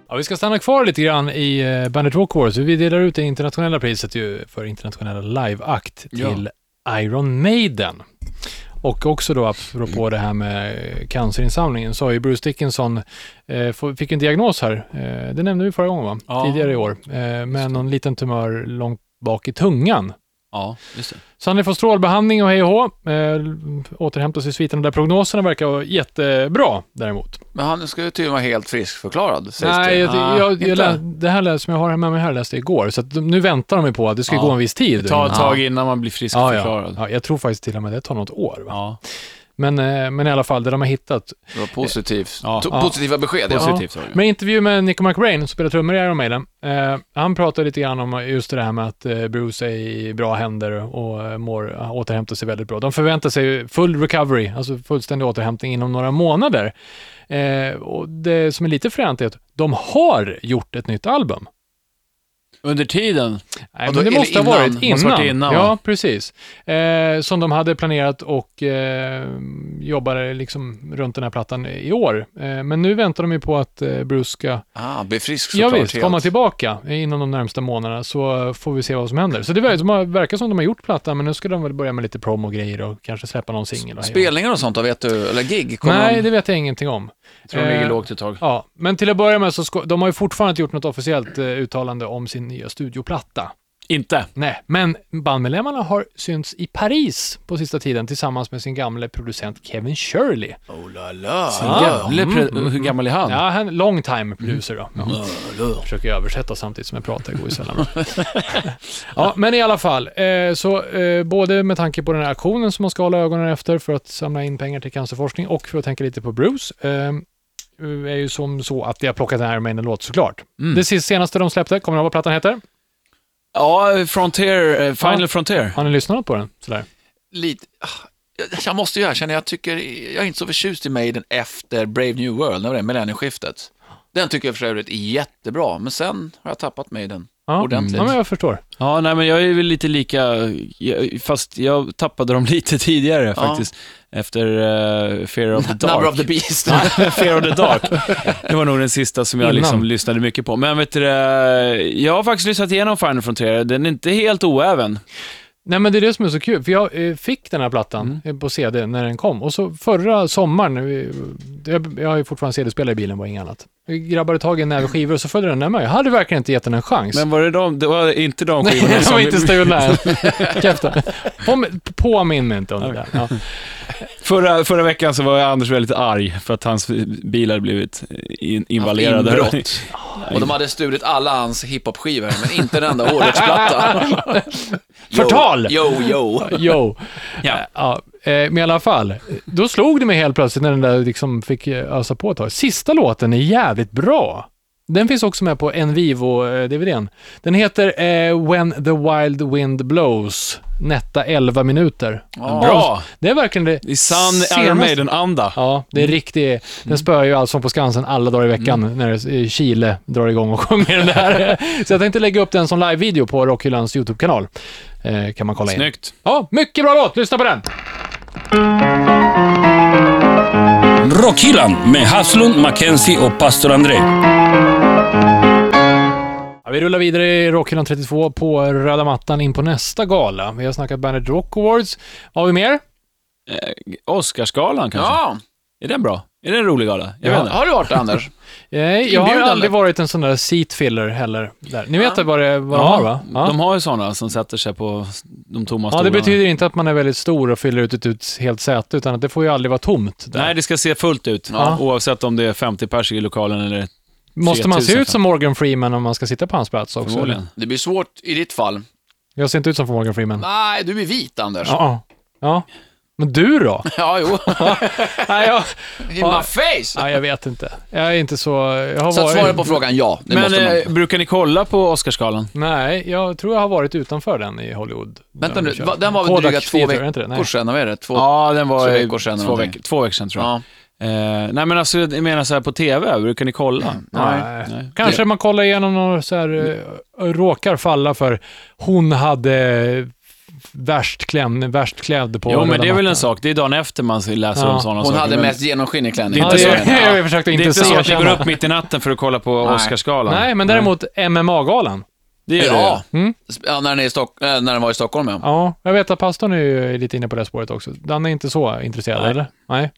[SPEAKER 2] Ja, vi ska stanna kvar lite grann i eh, Bandit Rock Awards. Vi delar ut det internationella priset ju för internationella liveakt till Iron Maiden. Och också då apropå det här med eh, cancerinsamlingen så har ju Bruce Dickinson, eh, få- fick en diagnos här, eh, det nämnde vi förra gången va?
[SPEAKER 3] Ja.
[SPEAKER 2] Tidigare i år, eh, med någon liten tumör långt bak i tungan.
[SPEAKER 3] Ja, just det.
[SPEAKER 2] Så han är på strålbehandling och hej och hå. eh, återhämtar sig i sviterna där prognoserna verkar vara jättebra däremot.
[SPEAKER 4] Men han ska ju tydligen vara helt friskförklarad, sägs
[SPEAKER 2] Nej,
[SPEAKER 4] det.
[SPEAKER 2] jag,
[SPEAKER 3] Ah,
[SPEAKER 2] jag,
[SPEAKER 3] inte?
[SPEAKER 2] jag lä, det här lä- som jag har här med mig här läste jag igår, så att de, nu väntar de ju på att det ska
[SPEAKER 3] Ja.
[SPEAKER 2] gå en viss tid.
[SPEAKER 3] Ta ett
[SPEAKER 2] Ja.
[SPEAKER 3] tag innan man blir frisk
[SPEAKER 2] ja, ja.
[SPEAKER 3] förklarad.
[SPEAKER 2] ja, jag tror faktiskt till och med det tar något år. Va?
[SPEAKER 3] Ja.
[SPEAKER 2] Men, eh, men i alla fall, det de har hittat.
[SPEAKER 4] Det var positivt.
[SPEAKER 3] Ja.
[SPEAKER 4] To-
[SPEAKER 2] Ja.
[SPEAKER 4] Positiva besked, ja.
[SPEAKER 3] Positivt var det ju.
[SPEAKER 2] Men i intervju med Nico McRae, som spelar trummor i Iron Maiden, eh, han pratade lite grann om just det här med att eh, Bruce är i bra händer och eh, mår, han återhämtar sig väldigt bra. De förväntar sig ju full recovery, alltså fullständig återhämtning inom några månader. Eh, och det som är lite fränt är att de har gjort ett nytt album.
[SPEAKER 3] Under tiden,
[SPEAKER 2] Nej,
[SPEAKER 4] Ja, då-
[SPEAKER 2] men det
[SPEAKER 4] eller
[SPEAKER 2] måste ha varit
[SPEAKER 4] innan.
[SPEAKER 2] innan.
[SPEAKER 3] Måste varit innan,
[SPEAKER 2] ja,
[SPEAKER 3] va?
[SPEAKER 2] precis. Eh, som de hade planerat och eh, jobbade liksom runt den här plattan i år. Eh, men nu väntar de ju på att eh, Bruce ska
[SPEAKER 4] Ah, bli frisk
[SPEAKER 2] ja,
[SPEAKER 4] såklart.
[SPEAKER 2] visst,
[SPEAKER 4] helt.
[SPEAKER 2] komma tillbaka inom de närmsta månaderna så eh, får vi se vad som händer. Så det verkar, de har- verkar som de har gjort plattan, men nu ska de väl börja med lite promo-grejer och kanske släppa någon singel. och hej och hå.
[SPEAKER 4] Spelningar och sånt, då, vet du? Eller gig? Kommer
[SPEAKER 2] Nej,
[SPEAKER 4] de-
[SPEAKER 2] det vet jag ingenting om.
[SPEAKER 3] tror de ligger
[SPEAKER 2] Eh,
[SPEAKER 3] lågt ett tag.
[SPEAKER 2] Ja, men till att börja med så ska, de har ju fortfarande inte gjort något officiellt eh, uttalande om sin nya studioplatta.
[SPEAKER 3] Inte.
[SPEAKER 2] Nej, men bandmedlemmarna har synts i Paris på sista tiden tillsammans med sin gamle producent Kevin Shirley.
[SPEAKER 4] Oh la la.
[SPEAKER 3] Ah,
[SPEAKER 4] mm,
[SPEAKER 3] Hur gammal är han?
[SPEAKER 2] Ja, han long time producer då. Mm. Ja. Försöker översätta samtidigt som jag pratar, det går ju sällan *laughs* bra. ja, Men i alla fall, eh, så eh, både med tanke på den här aktionen som man ska hålla ögonen efter för att samla in pengar till cancerforskning och för att tänka lite på Bruce, eh, är ju som så att jag har plockat den här med en låt såklart. Det sist- senaste de släppte, kommer du ihåg vad plattan heter?
[SPEAKER 3] Ja, Frontier, eh, Final
[SPEAKER 2] Ja.
[SPEAKER 3] Frontier.
[SPEAKER 2] Har ni lyssnat något på den? Sådär.
[SPEAKER 4] Lite... ah, jag- Jag måste ju erkänna, jag tycker... Jag är inte så förtjust i Maiden efter Brave New World, när det var det millennieskiftet. Den tycker jag för övrigt är jättebra, men sen har jag tappat Maiden.
[SPEAKER 2] Ja.
[SPEAKER 4] Ordentligt.
[SPEAKER 2] Ja, men jag förstår.
[SPEAKER 3] Ja, nej men jag är väl lite lika, jag- fast jag tappade dem *laughs* lite tidigare faktiskt. Efter eh, Fear of the
[SPEAKER 4] Number
[SPEAKER 3] Dark.
[SPEAKER 4] of the Beast.
[SPEAKER 3] *laughs* Fear of
[SPEAKER 2] *laughs*
[SPEAKER 3] the Dark. Det var nog den sista som jag
[SPEAKER 2] Innan.
[SPEAKER 3] liksom lyssnade mycket på. Men vet du, eh, jag har faktiskt lyssnat igenom Final Frontier, den är inte helt oäven.
[SPEAKER 2] Nej men det är det som är så kul, för jag eh, fick den här plattan
[SPEAKER 3] Mm.
[SPEAKER 2] eh, på CD när den kom. Och så förra sommaren, eh, jag, jag har ju fortfarande CD-spelare i bilen, var inget annat. Vi grabbade tag i en näve skivor och så följde den närmare. Jag hade verkligen inte gett den en chans. *laughs*
[SPEAKER 3] Men var det de, det var inte de
[SPEAKER 2] Nej,
[SPEAKER 3] skivorna
[SPEAKER 2] de
[SPEAKER 3] som...
[SPEAKER 2] var inte stulna än.
[SPEAKER 3] *laughs*
[SPEAKER 2] Käften. Påm- Påminn mig inte om det där. Ja.
[SPEAKER 3] Förra, förra veckan så var Anders väldigt arg för att hans bil hade blivit eh, in, invalerad.
[SPEAKER 4] inbrott. Och de hade stulit alla hans hiphop-skivor, men inte den enda hårdrocksplatta. Yo,
[SPEAKER 2] *laughs* Förtal!
[SPEAKER 4] Yo, yo.
[SPEAKER 2] Jo.
[SPEAKER 3] *laughs* Ja.
[SPEAKER 2] Eh, Ja, eh, men i alla fall, då slog det mig helt plötsligt när den där liksom fick eh, ösa på ett tag. Sista låten är jävligt bra. Den finns också med på en eh, Vivo-DVDn. Den heter eh, When the Wild Wind Blows, nätta 11 minuter.
[SPEAKER 3] Bra!
[SPEAKER 2] Det är verkligen det
[SPEAKER 3] Det är sann Iron
[SPEAKER 2] senaste-
[SPEAKER 3] Maiden-anda.
[SPEAKER 2] Ja, det är riktigt. Den spöar ju Allsång på Skansen alla dagar i veckan när eh, Chile drar igång och sjunger den där. Så jag tänkte lägga upp den som live-video på Rockhyllans YouTube-kanal. Eh, kan man kolla in.
[SPEAKER 3] Snyggt.
[SPEAKER 2] Ja, mycket bra låt. Lyssna på den.
[SPEAKER 1] Rockhyllan med Haslund, Mackenzie och pastor André.
[SPEAKER 2] Ja, vi rullar vidare i Rockhyllan 32 på röda mattan in på nästa gala. Vi har snackat Bandit Rock Awards. Vad har vi mer?
[SPEAKER 3] Oscarsgalan kanske?
[SPEAKER 4] Ja,
[SPEAKER 3] Är den bra? Är den en rolig gala? Jag
[SPEAKER 2] Ja.
[SPEAKER 3] vet inte.
[SPEAKER 4] har du varit det, Anders? *laughs*
[SPEAKER 2] Eh, Jag har
[SPEAKER 4] Inbjudan,
[SPEAKER 2] aldrig
[SPEAKER 4] eller?
[SPEAKER 2] varit en sån där seat filler heller. Där. Ni vet vad, det, vad de
[SPEAKER 3] Ja,
[SPEAKER 2] har va? Ja.
[SPEAKER 3] De har ju sådana som sätter sig på de tomma
[SPEAKER 2] ja,
[SPEAKER 3] stolarna.
[SPEAKER 2] det betyder inte att man är väldigt stor och fyller ut ett ut helt säte, utan att det får ju aldrig vara tomt. Där.
[SPEAKER 3] Nej, det ska se fullt ut.
[SPEAKER 2] Ja.
[SPEAKER 3] Oavsett om det är 50 pers i lokalen eller
[SPEAKER 2] Måste man se
[SPEAKER 3] 3000
[SPEAKER 2] ut som Morgan Freeman om man ska sitta på hans plats också?
[SPEAKER 3] förmodligen.
[SPEAKER 4] Det blir svårt i ditt fall.
[SPEAKER 2] eller? Jag ser inte ut som Morgan Freeman.
[SPEAKER 4] Nej, du är vit, Anders. Ja,
[SPEAKER 2] Ja. ja. Men
[SPEAKER 4] *laughs*
[SPEAKER 2] du då?
[SPEAKER 3] *laughs*
[SPEAKER 4] jo.
[SPEAKER 2] Nej, jag,
[SPEAKER 4] In my face!
[SPEAKER 2] ja, jag vet inte. Jag är inte så... Jag har
[SPEAKER 4] Så att
[SPEAKER 2] varit...
[SPEAKER 4] svara på frågan ja, det
[SPEAKER 3] Men
[SPEAKER 4] måste man.
[SPEAKER 3] eh, brukar ni kolla på Oscarsgalan?
[SPEAKER 2] Nej, jag tror jag har varit utanför den i Hollywood.
[SPEAKER 4] Vänta nu,
[SPEAKER 2] Köping.
[SPEAKER 4] va- den var väl
[SPEAKER 2] Kodak
[SPEAKER 4] dryga två
[SPEAKER 2] Theater, är det inte det? Nej.
[SPEAKER 4] veckor sedan, vad är det? Två...
[SPEAKER 3] Ja, den var
[SPEAKER 4] två
[SPEAKER 3] i
[SPEAKER 4] veckor sedan
[SPEAKER 3] två,
[SPEAKER 4] någonting.
[SPEAKER 3] veck- två veckor sedan tror jag.
[SPEAKER 4] Ja.
[SPEAKER 3] Eh, nej, men alltså jag menar så här på TV, brukar ni kolla?
[SPEAKER 2] Nej. Kanske man kollar igenom och så här,
[SPEAKER 4] Mm.
[SPEAKER 2] eh, råkar falla för hon hade eh, värst, kläm, värst klädd på
[SPEAKER 3] Jo, men
[SPEAKER 2] röda
[SPEAKER 3] det är väl en
[SPEAKER 2] mattan.
[SPEAKER 3] sak. Det är dagen efter man läser
[SPEAKER 2] Ja.
[SPEAKER 3] om sådana
[SPEAKER 4] Hon
[SPEAKER 3] saker.
[SPEAKER 4] hade
[SPEAKER 3] men
[SPEAKER 4] mest genomskinlig klänning.
[SPEAKER 3] Det är
[SPEAKER 2] Ja,
[SPEAKER 3] inte
[SPEAKER 2] det
[SPEAKER 3] så.
[SPEAKER 2] är, *laughs* jag försökte
[SPEAKER 3] Det är
[SPEAKER 2] inte
[SPEAKER 3] inte så att ni går
[SPEAKER 2] erkänna.
[SPEAKER 3] upp mitt i natten för att kolla på
[SPEAKER 4] Nej.
[SPEAKER 3] Oscarsgalan.
[SPEAKER 2] Nej, men däremot MMA-galan.
[SPEAKER 3] *laughs* Det gör
[SPEAKER 4] Ja,
[SPEAKER 3] ja.
[SPEAKER 2] Mm.
[SPEAKER 4] ja när, den är i Stock... eh, när den var i Stockholm ja.
[SPEAKER 2] Ja, jag vet att pastorn är ju lite inne på det spåret också. Han är inte så intresserad,
[SPEAKER 3] Nej.
[SPEAKER 2] eller? Nej.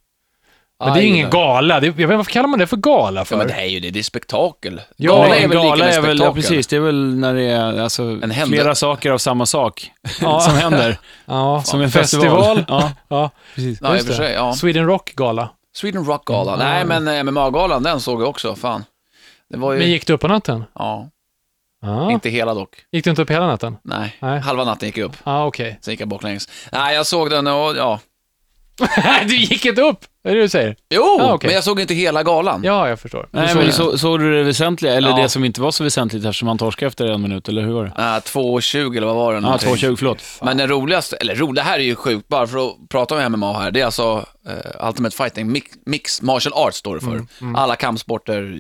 [SPEAKER 2] Men det
[SPEAKER 4] Aj,
[SPEAKER 2] är ju ingen
[SPEAKER 4] då.
[SPEAKER 2] gala. Det, jag vet inte, varför kallar man det för gala för?
[SPEAKER 4] Ja, men det är ju det, det är spektakel.
[SPEAKER 2] Ja,
[SPEAKER 3] Ja,
[SPEAKER 4] Gala
[SPEAKER 3] en
[SPEAKER 4] lika
[SPEAKER 3] gala
[SPEAKER 4] med
[SPEAKER 3] är väl, ja,
[SPEAKER 4] spektakel.
[SPEAKER 3] precis, det är väl när det är alltså,
[SPEAKER 4] händel-
[SPEAKER 3] flera saker av samma sak
[SPEAKER 2] Ja.
[SPEAKER 3] som händer.
[SPEAKER 2] ja,
[SPEAKER 3] Som en festival.
[SPEAKER 2] *laughs* ja.
[SPEAKER 3] Ja.
[SPEAKER 2] precis.
[SPEAKER 4] Ja, i och
[SPEAKER 2] Just
[SPEAKER 4] för sig,
[SPEAKER 2] det.
[SPEAKER 4] ja.
[SPEAKER 2] Sweden Rock-gala.
[SPEAKER 4] *laughs* Sweden Rock Gala. Nej, men eh, MMA-galan, den såg jag också, fan. Det var ju...
[SPEAKER 2] Men gick du upp på natten?
[SPEAKER 4] Ja,
[SPEAKER 2] Ja.
[SPEAKER 4] inte hela dock.
[SPEAKER 2] Gick du inte upp hela natten?
[SPEAKER 4] Nej.
[SPEAKER 2] Nej.
[SPEAKER 4] halva natten gick jag upp.
[SPEAKER 2] Ja, okej. *laughs*
[SPEAKER 4] Sen gick jag baklänges. Nej, jag såg den och ja,
[SPEAKER 2] du gick inte upp! Är det du säger?
[SPEAKER 4] Jo,
[SPEAKER 2] Ah, okej.
[SPEAKER 4] men jag såg inte hela galan.
[SPEAKER 2] Ja, jag förstår.
[SPEAKER 3] Nej,
[SPEAKER 2] Så-
[SPEAKER 3] men så, såg du det väsentliga, eller
[SPEAKER 4] Ja.
[SPEAKER 3] det som inte var så väsentligt eftersom han torskade efter en minut, eller hur var det?
[SPEAKER 4] Ah, 2.20 eller vad var det?
[SPEAKER 3] Ja,
[SPEAKER 4] någonting?
[SPEAKER 3] 2.20, förlåt.
[SPEAKER 4] Men den roligaste, eller rolig, det här är ju sjukt, bara för att prata om MMA här, det är alltså eh, Ultimate Fighting, mix, mix Martial Arts står det för. Alla kampsporter,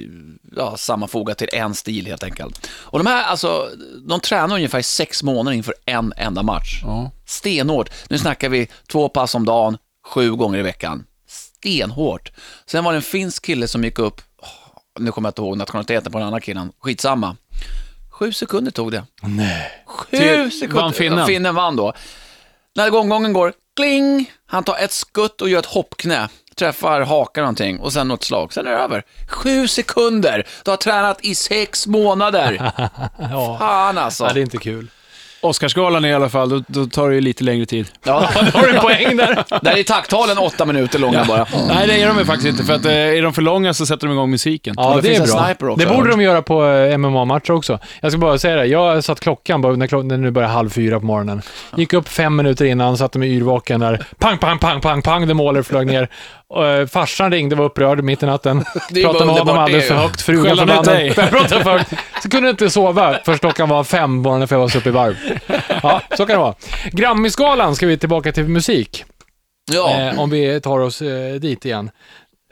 [SPEAKER 4] ja, sammanfogat till en stil helt enkelt. Och de här, alltså, de tränar ungefär sex månader inför en enda match.
[SPEAKER 3] Ja.
[SPEAKER 4] Stenhårt. Nu snackar vi två pass om dagen, sju gånger i veckan. Stenhårt. Sen var det en finsk kille som gick upp, åh, nu kommer jag inte ihåg nationaliteten på den andra killen, skitsamma. Sju sekunder tog det. Sju
[SPEAKER 3] Till-
[SPEAKER 4] sekunder.
[SPEAKER 3] vann finnen.
[SPEAKER 4] Finnen vann då. När gånggången går, kling, han tar ett skutt och gör ett hoppknä, träffar hakan någonting och sen något slag, sen är det över. Sju sekunder! Du har tränat i sex månader.
[SPEAKER 2] Ja.
[SPEAKER 4] Fan alltså.
[SPEAKER 2] Ja, det är inte kul.
[SPEAKER 3] Oscarsgalan i alla fall, då, då tar det ju lite längre tid.
[SPEAKER 2] *laughs*
[SPEAKER 4] Ja,
[SPEAKER 2] Har du en poäng där?
[SPEAKER 4] där är takttalen åtta minuter långa bara.
[SPEAKER 3] Nej, det är de ju faktiskt inte, för att eh, är de för långa så sätter de igång musiken.
[SPEAKER 2] Ja,
[SPEAKER 4] det
[SPEAKER 2] det,
[SPEAKER 4] finns en
[SPEAKER 2] är
[SPEAKER 4] sniper
[SPEAKER 2] bra.
[SPEAKER 4] också,
[SPEAKER 2] Det
[SPEAKER 4] har
[SPEAKER 2] borde
[SPEAKER 4] jag
[SPEAKER 2] de göra på eh, MMA-matcher också. Jag ska bara säga det, jag satt klockan, bara när, klockan, när det började halv fyra på morgonen. Gick upp fem minuter innan, satte mig yrvaken där. Pang, pang, pang, pang, pang, the måler flög ner. Och, eh, farsan ringde, var upprörd mitt
[SPEAKER 4] *laughs*
[SPEAKER 2] i natten.
[SPEAKER 4] Det är ju bara
[SPEAKER 2] Pratade med honom
[SPEAKER 4] underbart, det
[SPEAKER 2] alldeles för
[SPEAKER 4] är ju.
[SPEAKER 2] högt, frugan
[SPEAKER 3] Skäller ut
[SPEAKER 2] förbannad. *laughs*
[SPEAKER 3] dig.
[SPEAKER 2] Pratade för högt. Så kunde jag inte sova förrän klockan var fem på morgonen för jag var så uppe i varv. Ja, så kan det vara. Grammisgalan ska vi tillbaka till musik.
[SPEAKER 4] Ja,
[SPEAKER 2] Eh, om vi tar oss eh, dit igen.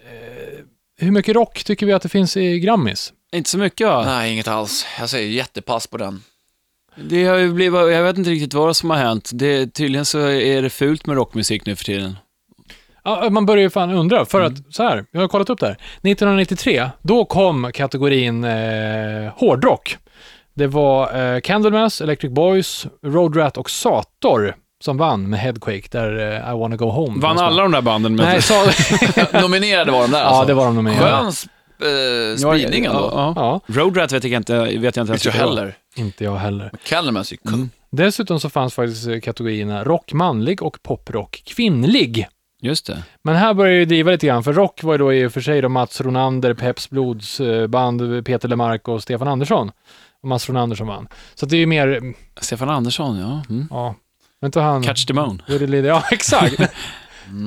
[SPEAKER 2] Eh, hur mycket rock tycker vi att det finns i Grammis?
[SPEAKER 3] Inte så mycket va?
[SPEAKER 4] nej inget alls. Jag säger jättepass på den.
[SPEAKER 3] Det har ju blivit, jag vet inte riktigt vad som har hänt. Det, tydligen så är det fult med rockmusik nu för tiden.
[SPEAKER 2] Ja, eh, man börjar ju fan undra,
[SPEAKER 3] Mm.
[SPEAKER 2] för att så här, jag har kollat upp det här. 1993, då kom kategorin eh, hårdrock. Det var eh, Candlemass, Electric Boys, Road Rat och Sator som vann med Headquake, där eh, I wanna go home.
[SPEAKER 3] Vann
[SPEAKER 2] fanns med.
[SPEAKER 3] alla de där banden med...
[SPEAKER 2] Nej, sa...
[SPEAKER 3] *laughs*
[SPEAKER 4] Nominerade var de där alltså.
[SPEAKER 2] ja, det var de nog med.
[SPEAKER 4] Skön sp- eh, spridning ändå.
[SPEAKER 3] Ja, ja.
[SPEAKER 2] Ja,
[SPEAKER 3] Road Rat vet jag inte, vet jag inte ens
[SPEAKER 4] Inte jag
[SPEAKER 3] vilka det var.
[SPEAKER 4] heller.
[SPEAKER 2] inte jag heller.
[SPEAKER 4] Kellermans är ju
[SPEAKER 2] Mm,
[SPEAKER 4] kung.
[SPEAKER 2] Dessutom så fanns faktiskt eh, kategorierna rock manlig och poprock kvinnlig.
[SPEAKER 3] Just det.
[SPEAKER 2] Men här börjar jag ju driva lite grann, för rock var ju då i och för sig då Mats Ronander, Peps Blods eh, band, Peter Lemark och Stefan Andersson. Och Mats Ronander som vann. Så att det är ju mer,
[SPEAKER 3] Stefan Andersson, ja. Mm.
[SPEAKER 2] ja, vet inte han...
[SPEAKER 3] Catch the Moon.
[SPEAKER 2] Rudy Linder, ja *laughs* exakt.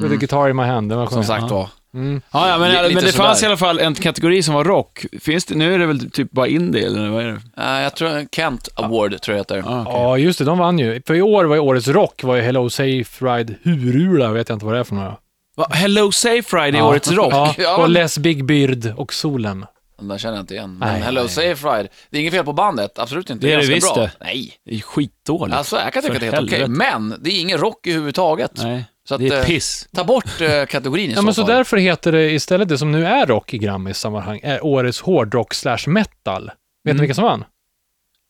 [SPEAKER 2] Rudy Guitar in my hand, den var
[SPEAKER 4] Som
[SPEAKER 2] skön.
[SPEAKER 4] sagt var.
[SPEAKER 2] Mm.
[SPEAKER 3] Ja, ja men,
[SPEAKER 4] Lite
[SPEAKER 3] men det
[SPEAKER 4] sådär.
[SPEAKER 3] fanns i alla fall en kategori som var rock. Finns det, nu är det väl typ bara indie, eller vad är det?
[SPEAKER 4] Nej, Eh, jag tror Kent Award tror jag heter.
[SPEAKER 3] Ah, okej.
[SPEAKER 2] Ja, just det, de vann ju. För i år var ju årets rock, var ju Hello Safe Ride Hurula, vet jag inte vad det är för några.
[SPEAKER 3] Va, Hello Safe Friday,
[SPEAKER 2] Ja.
[SPEAKER 3] årets rock.
[SPEAKER 2] Ja, och Les Big Beard och Solem.
[SPEAKER 4] Den där känner jag inte igen. Men
[SPEAKER 2] Nej,
[SPEAKER 4] Hello
[SPEAKER 2] nej.
[SPEAKER 4] Safe Ride, det är inget fel på bandet, absolut inte.
[SPEAKER 3] Det är det
[SPEAKER 4] ganska
[SPEAKER 3] visst
[SPEAKER 4] bra.
[SPEAKER 3] det.
[SPEAKER 4] Nej,
[SPEAKER 3] Det är skitdåligt.
[SPEAKER 4] alltså jag kan tycka
[SPEAKER 3] För
[SPEAKER 4] att det är helt okej,
[SPEAKER 3] helvete.
[SPEAKER 4] men det är ingen rock i huvudtaget.
[SPEAKER 3] Nej,
[SPEAKER 4] Så att,
[SPEAKER 3] det är
[SPEAKER 4] eh,
[SPEAKER 3] piss.
[SPEAKER 4] Ta bort eh, kategorin i
[SPEAKER 2] Ja,
[SPEAKER 4] så
[SPEAKER 2] men så
[SPEAKER 4] fall.
[SPEAKER 2] därför heter det istället det som nu är rock i Grammis-sammanhang, är årets hårdrock slash metal. Vet ni
[SPEAKER 3] Mm.
[SPEAKER 2] vilka som vann?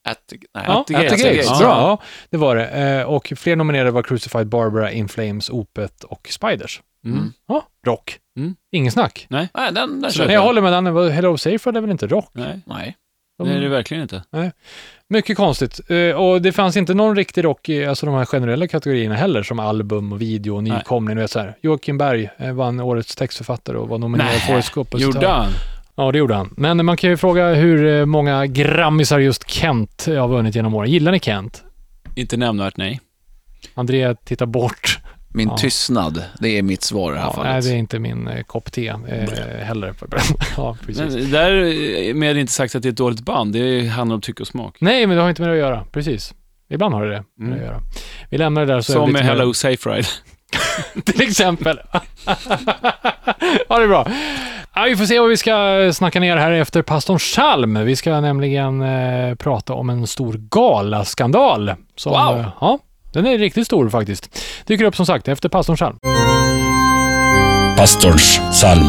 [SPEAKER 4] Att, nej.
[SPEAKER 2] Ja,
[SPEAKER 3] At the Gates.
[SPEAKER 2] Gates.
[SPEAKER 3] Ja.
[SPEAKER 2] Bra, ja, det var det. Eh, Och fler nominerade var Crucified Barbara, In Flames, Opet och Spiders.
[SPEAKER 3] Mm.
[SPEAKER 2] Ja, rock.
[SPEAKER 3] Mm.
[SPEAKER 2] Ingen snack.
[SPEAKER 4] nej, den, den
[SPEAKER 3] Så-
[SPEAKER 4] kör
[SPEAKER 2] Nej, jag håller med Danne. Vad- Hello Safer det är väl inte rock?
[SPEAKER 3] Nej,
[SPEAKER 4] Nej.
[SPEAKER 2] De-
[SPEAKER 3] det är det verkligen inte.
[SPEAKER 2] Mycket konstigt. Eh, Och det fanns inte någon riktig rock i alltså de här generella kategorierna heller, som album och video och
[SPEAKER 3] Nej.
[SPEAKER 2] nykomling. Du vet så här. Joakim Berg eh, vann årets textförfattare och var nominerad
[SPEAKER 3] Nej,
[SPEAKER 2] för årets kompositör.
[SPEAKER 3] Gjorde han?
[SPEAKER 2] Ja, det gjorde han. Men man kan ju fråga hur eh, många grammisar just Kent eh, har vunnit genom åren. Gillar ni Kent?
[SPEAKER 3] Inte nämnvärt, nej.
[SPEAKER 2] Andrea tittar bort.
[SPEAKER 4] Min
[SPEAKER 2] Ja.
[SPEAKER 4] tystnad, det är mitt svar i det här
[SPEAKER 2] Ja, nej,
[SPEAKER 4] fallet.
[SPEAKER 2] det är inte min eh, kopp te eh, heller. *laughs* ja, precis.
[SPEAKER 3] Men Därmed inte sagt att det är ett dåligt band, det handlar om tycke och smak.
[SPEAKER 2] Nej, men det har inte med det att göra. Precis. Ibland har det det med det att göra. Vi lämnar det där. Så är
[SPEAKER 3] Som
[SPEAKER 2] det
[SPEAKER 3] med
[SPEAKER 2] lite mer-
[SPEAKER 3] Hello Safe *laughs* Ride.
[SPEAKER 2] *laughs* Till exempel. ja, det är bra. Ja, vi får se vad vi ska eh, snacka ner här efter pastorn Chalm. Vi ska nämligen eh, prata om en stor galaskandal. Som,
[SPEAKER 4] Wow.
[SPEAKER 2] eh, ja, den är riktigt stor faktiskt. Dyker upp som sagt efter pastorn Chalm.
[SPEAKER 1] Pastorns psalm.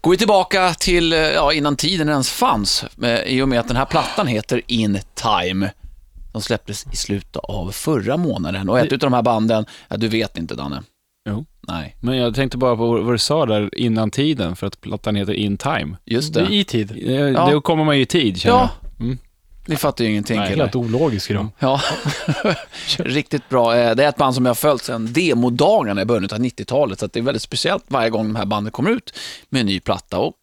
[SPEAKER 4] Går vi tillbaka till, eh, ja, innan tiden ens fanns, eh, i och med att den här plattan heter In Time. De släpptes i slutet av förra månaden och ett av de här banden, ja, du vet inte Danne.
[SPEAKER 3] Jo.
[SPEAKER 4] Nej,
[SPEAKER 3] Men jag tänkte bara på vad du sa där innan tiden, för att plattan heter In Time.
[SPEAKER 4] just
[SPEAKER 2] Det är
[SPEAKER 4] det.
[SPEAKER 2] i tid.
[SPEAKER 3] Eh, Då kommer man ju i tid, känner
[SPEAKER 4] Ja,
[SPEAKER 3] jag. Mm.
[SPEAKER 4] ni fattar ju ingenting
[SPEAKER 3] Nej,
[SPEAKER 4] killar.
[SPEAKER 2] Helt ologisk i dem.
[SPEAKER 4] Ja, *laughs* riktigt bra. Eh, Det är ett band som jag har följt sedan demodagarna i början av 90-talet, så att det är väldigt speciellt varje gång de här banden kommer ut med en ny platta. Och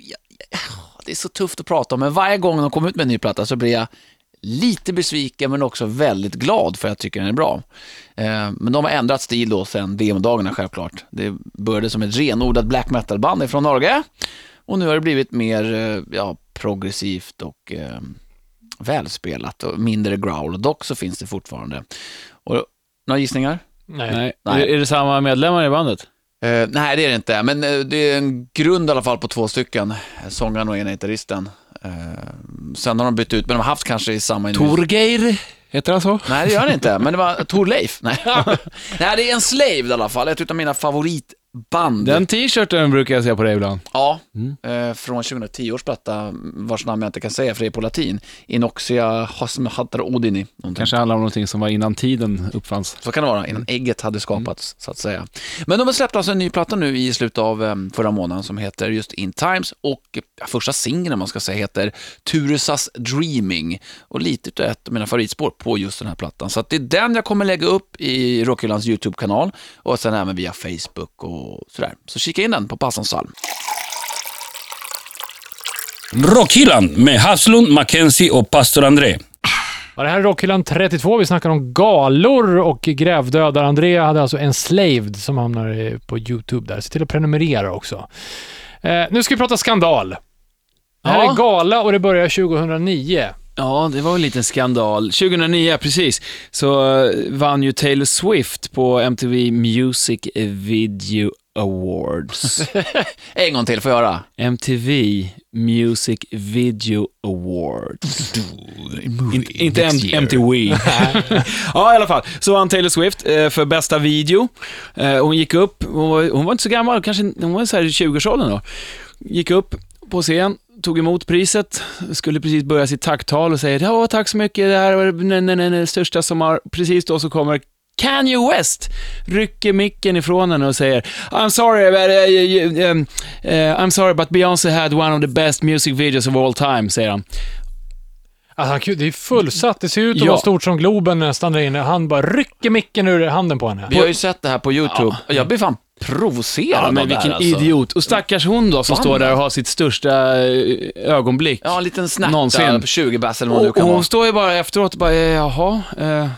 [SPEAKER 4] Ja, ja, det är så tufft att prata om, men varje gång de kommer ut med en ny platta så blir jag lite besviken men också väldigt glad för jag tycker den är bra. Eh, men de har ändrat stil då sen demodagarna självklart. Det började som ett renodlat black metal-band från Norge och nu har det blivit mer eh, ja, progressivt och eh, välspelat och mindre growl. Dock så finns det fortfarande. Och, några gissningar?
[SPEAKER 2] Nej.
[SPEAKER 3] Eh, Nej.
[SPEAKER 4] Nej.
[SPEAKER 3] Är, är det samma medlemmar i bandet?
[SPEAKER 4] Eh, nej, det är det inte, men eh, det är en grund i alla fall på två stycken. Sångaren och ena gitarristen. Eh, sen har de bytt ut, men de har haft kanske i samma...
[SPEAKER 3] Torgeir, heter han så?
[SPEAKER 4] Nej, det gör han inte. Men det var Torleif. Nej. *laughs* Nej, det är en Slave i alla fall. Ett av mina favoritband.
[SPEAKER 3] Den t-shirten brukar jag se på dig ibland.
[SPEAKER 4] Ja, eh, från 2010 års platta, vars namn jag inte kan säga för det är på latin. Inoxia Hasmhatar Odini. Någonting.
[SPEAKER 3] Kanske handlar om någonting som var innan tiden uppfanns.
[SPEAKER 4] Så kan det vara, innan
[SPEAKER 3] Mm.
[SPEAKER 4] ägget hade skapats, så att säga. Men de har släppt alltså en ny platta nu i slutet av eh, förra månaden som heter just In Times och eh, första singeln, om man ska säga, heter Turusas Dreaming och lite utav ett av mina favoritspår på just den här plattan. Så att det är den jag kommer lägga upp i Rockhyllans YouTube-kanal och sen även via Facebook och sådär. Så kika in den på Passans psalm.
[SPEAKER 1] Rockhyllan med Haslund, Mackenzie och pastor André.
[SPEAKER 2] Ja, det här är Rockhyllan 32. Vi snackar om galor och grävdödar. Andrea hade alltså en slaved som hamnar eh, på YouTube där. Se till att prenumerera också. Eh, nu ska vi prata skandal. Det här
[SPEAKER 3] Ja.
[SPEAKER 2] är gala och det börjar 2009.
[SPEAKER 3] Ja, det var en liten skandal. 2009, precis, så eh, vann ju Taylor Swift på MTV Music Video *laughs* Awards.
[SPEAKER 4] En gång till, får jag höra?
[SPEAKER 3] MTV Music Video Awards. In, inte
[SPEAKER 4] next
[SPEAKER 3] M-
[SPEAKER 4] year. *laughs*
[SPEAKER 3] MTV. ja, i alla fall. Så vann Taylor Swift eh, för bästa video. Eh, hon gick upp, hon var, hon var inte så gammal, kanske hon var så här i 20-årsåldern då. Gick upp på scen, tog emot priset, skulle precis börja sitt tacktal och säger ja, tack så mycket, det här var nej, nej, nej, det största som har... Precis då så kommer Kanye West rycker micken ifrån henne och säger I'm sorry, but, eh, you- um, eh, I'm sorry but Beyoncé had one of the best music videos of all time, säger han.
[SPEAKER 2] Alltså, han, det är fullsatt. Det ser ut att
[SPEAKER 3] Ja.
[SPEAKER 2] vara stort som Globen nästan där inne. Han bara rycker micken ur handen på henne.
[SPEAKER 4] Vi har ju sett det här på YouTube. Jag blir fan provocerad
[SPEAKER 3] Ja, men
[SPEAKER 4] av det
[SPEAKER 3] vilken
[SPEAKER 4] här, alltså.
[SPEAKER 3] idiot. Och stackars hon då som
[SPEAKER 4] Fan.
[SPEAKER 3] står där och har sitt största eh, ögonblick.
[SPEAKER 4] Ja, en liten snärt
[SPEAKER 3] Någonsin.
[SPEAKER 4] där på 20 bass eller vad det nu
[SPEAKER 3] och, och
[SPEAKER 4] kan vara.
[SPEAKER 3] hon står ju bara efteråt och bara, eh, jaha, eh, eh,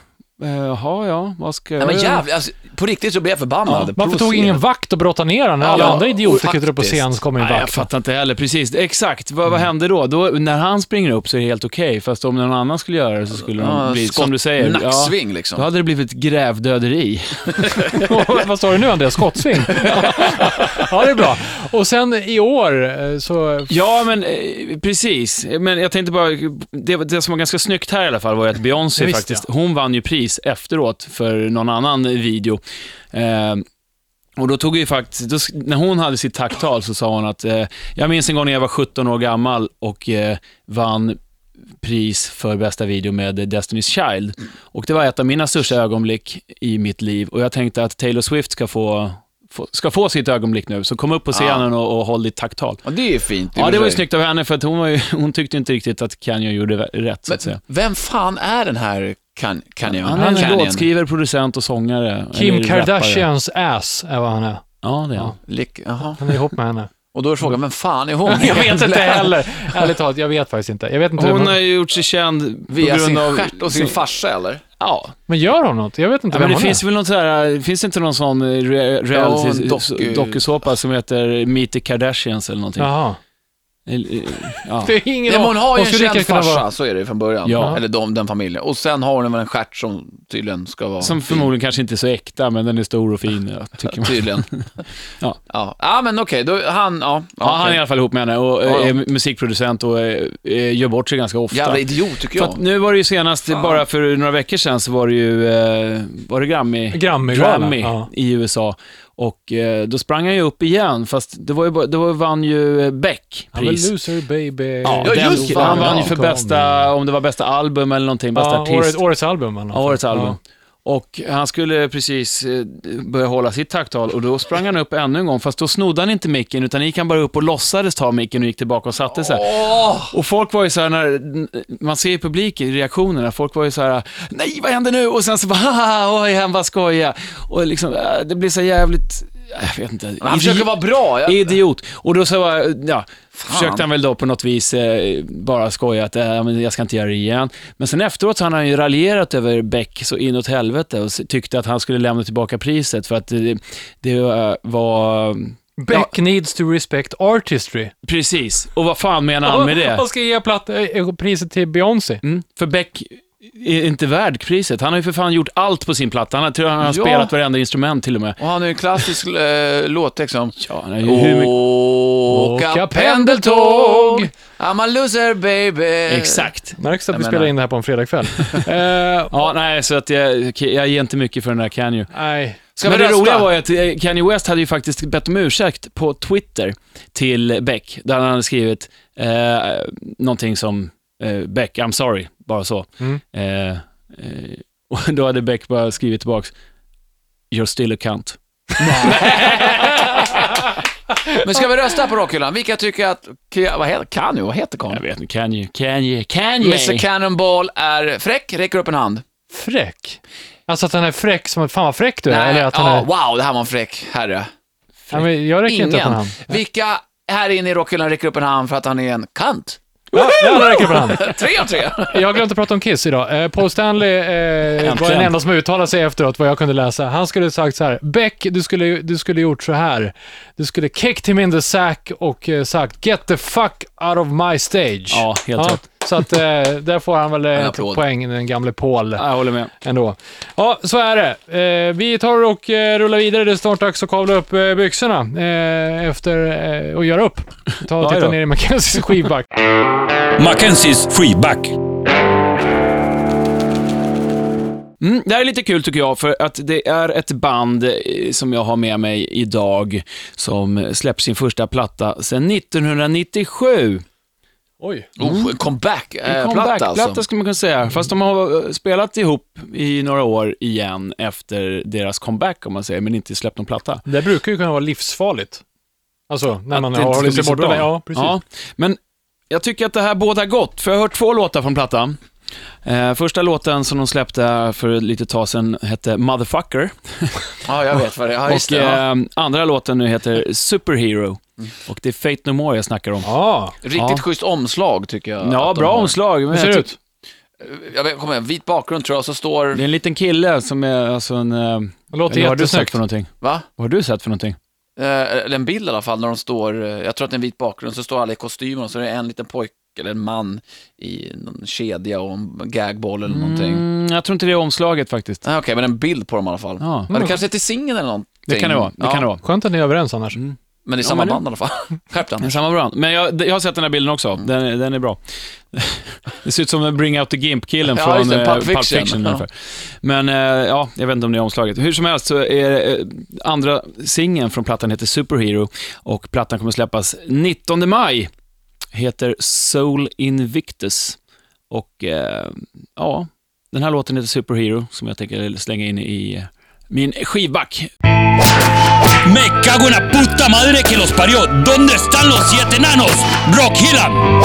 [SPEAKER 3] jaha, ja, vad ska jag
[SPEAKER 4] Nej men
[SPEAKER 3] göra?
[SPEAKER 4] jävlar, alltså, på riktigt så blev jag förbannad.
[SPEAKER 2] Varför tog
[SPEAKER 4] Provocerad.
[SPEAKER 2] ingen vakt och brottade ner honom när alla
[SPEAKER 4] Ja,
[SPEAKER 2] andra idioter klättrade upp på
[SPEAKER 4] faktiskt.
[SPEAKER 2] scen så kom en
[SPEAKER 3] Nej, jag
[SPEAKER 2] vakt?
[SPEAKER 3] fattar inte heller. Precis, exakt. Vad, vad
[SPEAKER 4] Mm.
[SPEAKER 3] händer då? då? När han springer upp så är det helt okej, fast om någon annan skulle göra det så skulle de
[SPEAKER 4] Ja,
[SPEAKER 3] bli,
[SPEAKER 4] skott-
[SPEAKER 3] som du säger,
[SPEAKER 4] Nacksving liksom.
[SPEAKER 3] då hade det blivit grävdöderi.
[SPEAKER 2] *laughs* Vad sa du nu Andreas? Skottsving?
[SPEAKER 3] *laughs*
[SPEAKER 2] ja, det är bra. Och sen i år eh, så...
[SPEAKER 3] Ja, men eh, precis. Men jag tänkte bara, det, det som var ganska snyggt här i alla fall var ju att Beyoncé
[SPEAKER 2] Ja, visst,
[SPEAKER 3] faktiskt, hon vann ju pris efteråt för någon annan video. Eh, och då tog ju faktiskt, då, sk- när hon hade sitt tacktal så sa hon att, eh, jag minns en gång när jag var 17 år gammal och eh, vann pris för bästa video med Destiny's Child. Och det var ett av mina största ögonblick i mitt liv och jag tänkte att Taylor Swift ska få, få, ska få sitt ögonblick nu, så kom upp på
[SPEAKER 2] Ah.
[SPEAKER 3] scenen och, och håll ditt tacktal.
[SPEAKER 4] Ja, det är ju fint. i och
[SPEAKER 3] Ja,
[SPEAKER 4] för
[SPEAKER 3] det var ju
[SPEAKER 4] sig.
[SPEAKER 3] snyggt av henne, för att hon, var ju, *laughs* hon tyckte inte riktigt att Kanye gjorde vä- rätt, så att säga.
[SPEAKER 4] Vem fan är den här kan, Kanye?
[SPEAKER 3] Han är en
[SPEAKER 4] Kanyon.
[SPEAKER 3] låtskrivare, producent och sångare.
[SPEAKER 2] Kim
[SPEAKER 3] eller rappare.
[SPEAKER 2] Kardashians ass är vad han är.
[SPEAKER 3] Ja, det är han.
[SPEAKER 2] Ja.
[SPEAKER 4] Lik- Jaha.
[SPEAKER 2] Han är ihop med henne.
[SPEAKER 4] Och då är frågan, vem fan är hon?
[SPEAKER 2] *laughs* Jag vet inte heller. Ärligt talat, jag vet faktiskt inte. Jag vet inte
[SPEAKER 3] Hon
[SPEAKER 2] vem,
[SPEAKER 3] har ju gjort sig känd på
[SPEAKER 4] Via sin
[SPEAKER 3] grund av...
[SPEAKER 4] stjärt och sin farsa eller?
[SPEAKER 3] Ja,
[SPEAKER 2] Men gör hon något? Jag vet inte
[SPEAKER 3] ja
[SPEAKER 2] vem
[SPEAKER 3] men det
[SPEAKER 2] hon
[SPEAKER 3] finns
[SPEAKER 2] är.
[SPEAKER 3] väl något så här, finns det inte någon sån eh, re-
[SPEAKER 4] en doku-
[SPEAKER 3] reality dokusåpa som heter Meet the Kardashians eller någonting?
[SPEAKER 2] Jaha.
[SPEAKER 3] Eller, eh, Ja.
[SPEAKER 2] Det är ingen
[SPEAKER 4] Nej, men
[SPEAKER 2] aning.
[SPEAKER 4] hon har ju en
[SPEAKER 2] skulle
[SPEAKER 4] känd
[SPEAKER 2] lika gärna
[SPEAKER 4] farsa,
[SPEAKER 2] vara-
[SPEAKER 4] så är det ju från början.
[SPEAKER 3] Ja.
[SPEAKER 4] Eller de, den familjen. Och sen har hon väl en stjärt som tydligen ska vara...
[SPEAKER 3] Som förmodligen kanske inte är så äkta, men den är stor och fin, ja, tycker man.
[SPEAKER 4] Tydligen.
[SPEAKER 3] *laughs* Ja.
[SPEAKER 4] ja. Ja, men okej, då han, ja.
[SPEAKER 3] Ja, han är i
[SPEAKER 4] okej.
[SPEAKER 3] alla fall ihop med henne och
[SPEAKER 4] Ja,
[SPEAKER 3] eh,
[SPEAKER 4] ja.
[SPEAKER 3] är musikproducent och eh, eh, gör bort sig ganska ofta.
[SPEAKER 4] Jävla idiot tycker
[SPEAKER 3] För att
[SPEAKER 4] jag.
[SPEAKER 3] nu var det ju senast, bara för några veckor sedan, så var det ju, eh, var det Grammy?
[SPEAKER 2] Grammy-galan,
[SPEAKER 3] Grammy
[SPEAKER 2] ja.
[SPEAKER 3] i USA. Och eh, då sprang han ju upp igen, fast det var ju, bara- det var, vann ju eh, Beck
[SPEAKER 2] Ja, men
[SPEAKER 3] pris.
[SPEAKER 2] loser baby.
[SPEAKER 3] Ja,
[SPEAKER 4] Ja,
[SPEAKER 3] den-
[SPEAKER 4] just det.
[SPEAKER 3] Han vann ju
[SPEAKER 4] Ja,
[SPEAKER 3] för
[SPEAKER 2] kom
[SPEAKER 3] bästa, om det var bästa album eller någonting, bästa
[SPEAKER 2] Ja,
[SPEAKER 3] artist.
[SPEAKER 2] årets, årets album. eller något.
[SPEAKER 3] Ja, årets album.
[SPEAKER 2] Ja.
[SPEAKER 3] Och han skulle precis eh, börja hålla sitt tacktal och då sprang han upp ännu en gång, fast då snodde han inte micken utan gick han bara upp och låtsades ta micken och gick tillbaka och satte sig. Och folk var ju så här, när, man ser i publiken reaktionerna, folk var ju så här, *laughs* nej vad händer nu? Och sen så bara, haha, oj han bara skojar. Och liksom, äh, det eh, blir så jävligt jag vet inte.
[SPEAKER 4] Men han försöker vara bra. Jag,
[SPEAKER 3] Idiot. Och då så var, ja, försökte han väl då på något vis eh, bara skoja att äh, men jag ska inte göra det igen. Men sen efteråt så hade han ju raljerat över Beck så inåt helvete och s- tyckte att han skulle lämna tillbaka priset för att det, det eh, var...
[SPEAKER 2] Beck needs to respect artistry.
[SPEAKER 3] Precis. Och vad fan menar han
[SPEAKER 2] *laughs*
[SPEAKER 3] med det?
[SPEAKER 2] Han ska ge platt, eh, priset till Beyoncé.
[SPEAKER 3] Mm, för Beck är inte värd priset. Han har ju för fan gjort allt på sin platta. Han har, tror jag han har
[SPEAKER 4] Ja.
[SPEAKER 3] spelat varenda instrument till och med.
[SPEAKER 4] och han har ju en klassisk eh, låttext som...
[SPEAKER 3] Ja, han har ju hur mycket...
[SPEAKER 4] Åka,
[SPEAKER 2] Åka pendeltåg.
[SPEAKER 4] pendeltåg, I'm a loser baby.
[SPEAKER 3] Exakt.
[SPEAKER 2] Märks att
[SPEAKER 4] Jag
[SPEAKER 2] vi
[SPEAKER 4] menar-
[SPEAKER 2] spelar in det här på
[SPEAKER 4] *laughs*
[SPEAKER 2] en fredagkväll. eh,
[SPEAKER 3] Ja, nej, så att jag, okej, jag ger inte mycket för den där Can You.
[SPEAKER 2] nej.
[SPEAKER 4] Ska vi
[SPEAKER 3] Men det
[SPEAKER 4] rösta?
[SPEAKER 3] roliga var ju att eh, Kanye West hade ju faktiskt bett om ursäkt på Twitter till Beck, där han hade skrivit eh, någonting som eh, Beck, I'm sorry, bara så.
[SPEAKER 2] Mm.
[SPEAKER 3] Eh, eh, och då hade Beck bara skrivit tillbaks, You're still a cunt.
[SPEAKER 4] Men ska vi rösta på Rockhyllan? Vilka tycker att... Ke- Vad heter Kanye? Vad heter
[SPEAKER 3] Jag
[SPEAKER 4] Kanye?
[SPEAKER 3] vet inte, Kanye, Kanye, Kanye.
[SPEAKER 4] Mr Cannonball är fräck, räcker upp en hand.
[SPEAKER 2] Fräck? Alltså att han är fräck som... Fan vad fräck du är. eller att han
[SPEAKER 4] ja,
[SPEAKER 2] är...
[SPEAKER 4] Wow, det här var en fräck herre.
[SPEAKER 2] Nej, men jag räcker inte upp en
[SPEAKER 4] Ingen.
[SPEAKER 2] hand.
[SPEAKER 4] Vilka här inne i Rockhyllan räcker upp en hand för att han är en kant?
[SPEAKER 2] Ja, jag räcker upp en hand.
[SPEAKER 4] *laughs*
[SPEAKER 2] Mm.
[SPEAKER 4] Tre av tre.
[SPEAKER 2] Jag har glömt att prata om Kiss idag. Eh, Paul Stanley eh, var
[SPEAKER 3] Äntligen.
[SPEAKER 2] den enda som uttalade sig efteråt, vad jag kunde läsa. Han skulle sagt så här, Beck, du skulle, du skulle gjort så här. Du skulle kicked him in the sack och eh, sagt “Get the fuck out of my stage”.
[SPEAKER 3] Ja, helt rätt.
[SPEAKER 2] Så att eh, där får han väl eh,
[SPEAKER 4] En
[SPEAKER 2] ett
[SPEAKER 4] applåd.
[SPEAKER 2] poäng, den gamle Paul,
[SPEAKER 3] Ja, Jag håller med.
[SPEAKER 2] ändå. Ja, så är det. Eh, vi tar och eh, rullar vidare. Det är snart dags att kavla upp eh, byxorna eh, efter, eh, och göra upp. Ta och
[SPEAKER 3] Oj
[SPEAKER 2] titta
[SPEAKER 3] då.
[SPEAKER 2] ner i *laughs* Mackenzies skivback.
[SPEAKER 1] Mackenzies freeback.
[SPEAKER 3] Mm, det här är lite kul tycker jag, för att det är ett band eh, som jag har med mig idag, som släppt sin första platta sedan 1997.
[SPEAKER 2] Oj.
[SPEAKER 4] Oh, en comeback-platta
[SPEAKER 3] Comebackplatta
[SPEAKER 4] alltså.
[SPEAKER 3] skulle man kunna säga, fast de har eh, spelat ihop i några år igen efter deras comeback, om man säger, men inte släppt någon platta.
[SPEAKER 2] Det brukar ju kunna vara livsfarligt. Alltså, när man
[SPEAKER 3] Att det
[SPEAKER 2] har
[SPEAKER 3] inte
[SPEAKER 2] hållit
[SPEAKER 3] ska
[SPEAKER 2] sig
[SPEAKER 3] bli så
[SPEAKER 2] borta.
[SPEAKER 3] bra.
[SPEAKER 2] Ja, precis.
[SPEAKER 3] Ja, men jag tycker att det här båda gott, för jag har hört två låtar från plattan. Eh, första låten som de släppte för ett litet tag sedan hette “Motherfucker”.
[SPEAKER 4] Ja, jag vet vad det är. Ja, just
[SPEAKER 3] Och
[SPEAKER 4] det. Ja. Mm.
[SPEAKER 3] eh, andra låten nu heter Superhero. Och det är Fate No More jag snackar om.
[SPEAKER 2] Ja.
[SPEAKER 4] Riktigt
[SPEAKER 3] ja.
[SPEAKER 4] schysst omslag tycker jag.
[SPEAKER 3] Ja,
[SPEAKER 4] att de
[SPEAKER 3] bra
[SPEAKER 4] har.
[SPEAKER 3] omslag. Men
[SPEAKER 2] Hur ser
[SPEAKER 3] jag
[SPEAKER 2] det
[SPEAKER 3] ty-
[SPEAKER 2] ut?
[SPEAKER 4] Eh, Jag vet, kom igen, vit bakgrund tror jag, så står...
[SPEAKER 3] Det är en liten kille som är alltså en... eh,
[SPEAKER 2] Det låter
[SPEAKER 3] eller vad har du sett
[SPEAKER 2] jättesnyggt.
[SPEAKER 3] för någonting?
[SPEAKER 4] Va?
[SPEAKER 3] Vad har du sett för någonting?
[SPEAKER 4] Eh, Eller en bild i alla fall, när de står... eh, Jag tror att det är en vit bakgrund, så står alla i kostymer och så är det en liten pojke eller en man i någon kedja och en gagboll eller någonting.
[SPEAKER 3] Mm, jag tror inte det är omslaget faktiskt.
[SPEAKER 4] Ah, Okej, men en bild på dem i alla fall.
[SPEAKER 3] Ja,
[SPEAKER 4] Ja, det kanske är till singeln eller någonting.
[SPEAKER 3] det kan det vara. Det
[SPEAKER 4] Ja,
[SPEAKER 3] kan det vara.
[SPEAKER 2] Skönt att ni är överens annars.
[SPEAKER 4] Men i samma
[SPEAKER 3] men det-
[SPEAKER 4] band i alla fall. *laughs* Skärp dig,
[SPEAKER 3] Det är
[SPEAKER 4] Anders.
[SPEAKER 3] samma brand. Men jag, jag har sett den här bilden
[SPEAKER 4] Mm.
[SPEAKER 3] också. Den, den är bra. Det ser ut som en Bring Out the Gimp-killen
[SPEAKER 4] Ja,
[SPEAKER 3] från
[SPEAKER 4] just det,
[SPEAKER 3] eh,
[SPEAKER 4] Pulp
[SPEAKER 3] Pulp Fiction.
[SPEAKER 4] Fiction, ja.
[SPEAKER 3] ungefär. Men eh, ja, jag vet inte om det är omslaget. Hur som helst så är eh, andra singeln från plattan heter Superhero och plattan kommer släppas 19 maj. Heter Soul Invictus. Och eh, ja, den här låten heter Superhero som jag tänker slänga in i eh, min skivback.
[SPEAKER 1] Me cago en la puta madre que los parió. ¿Dónde están los siete enanos? Rock Hillan.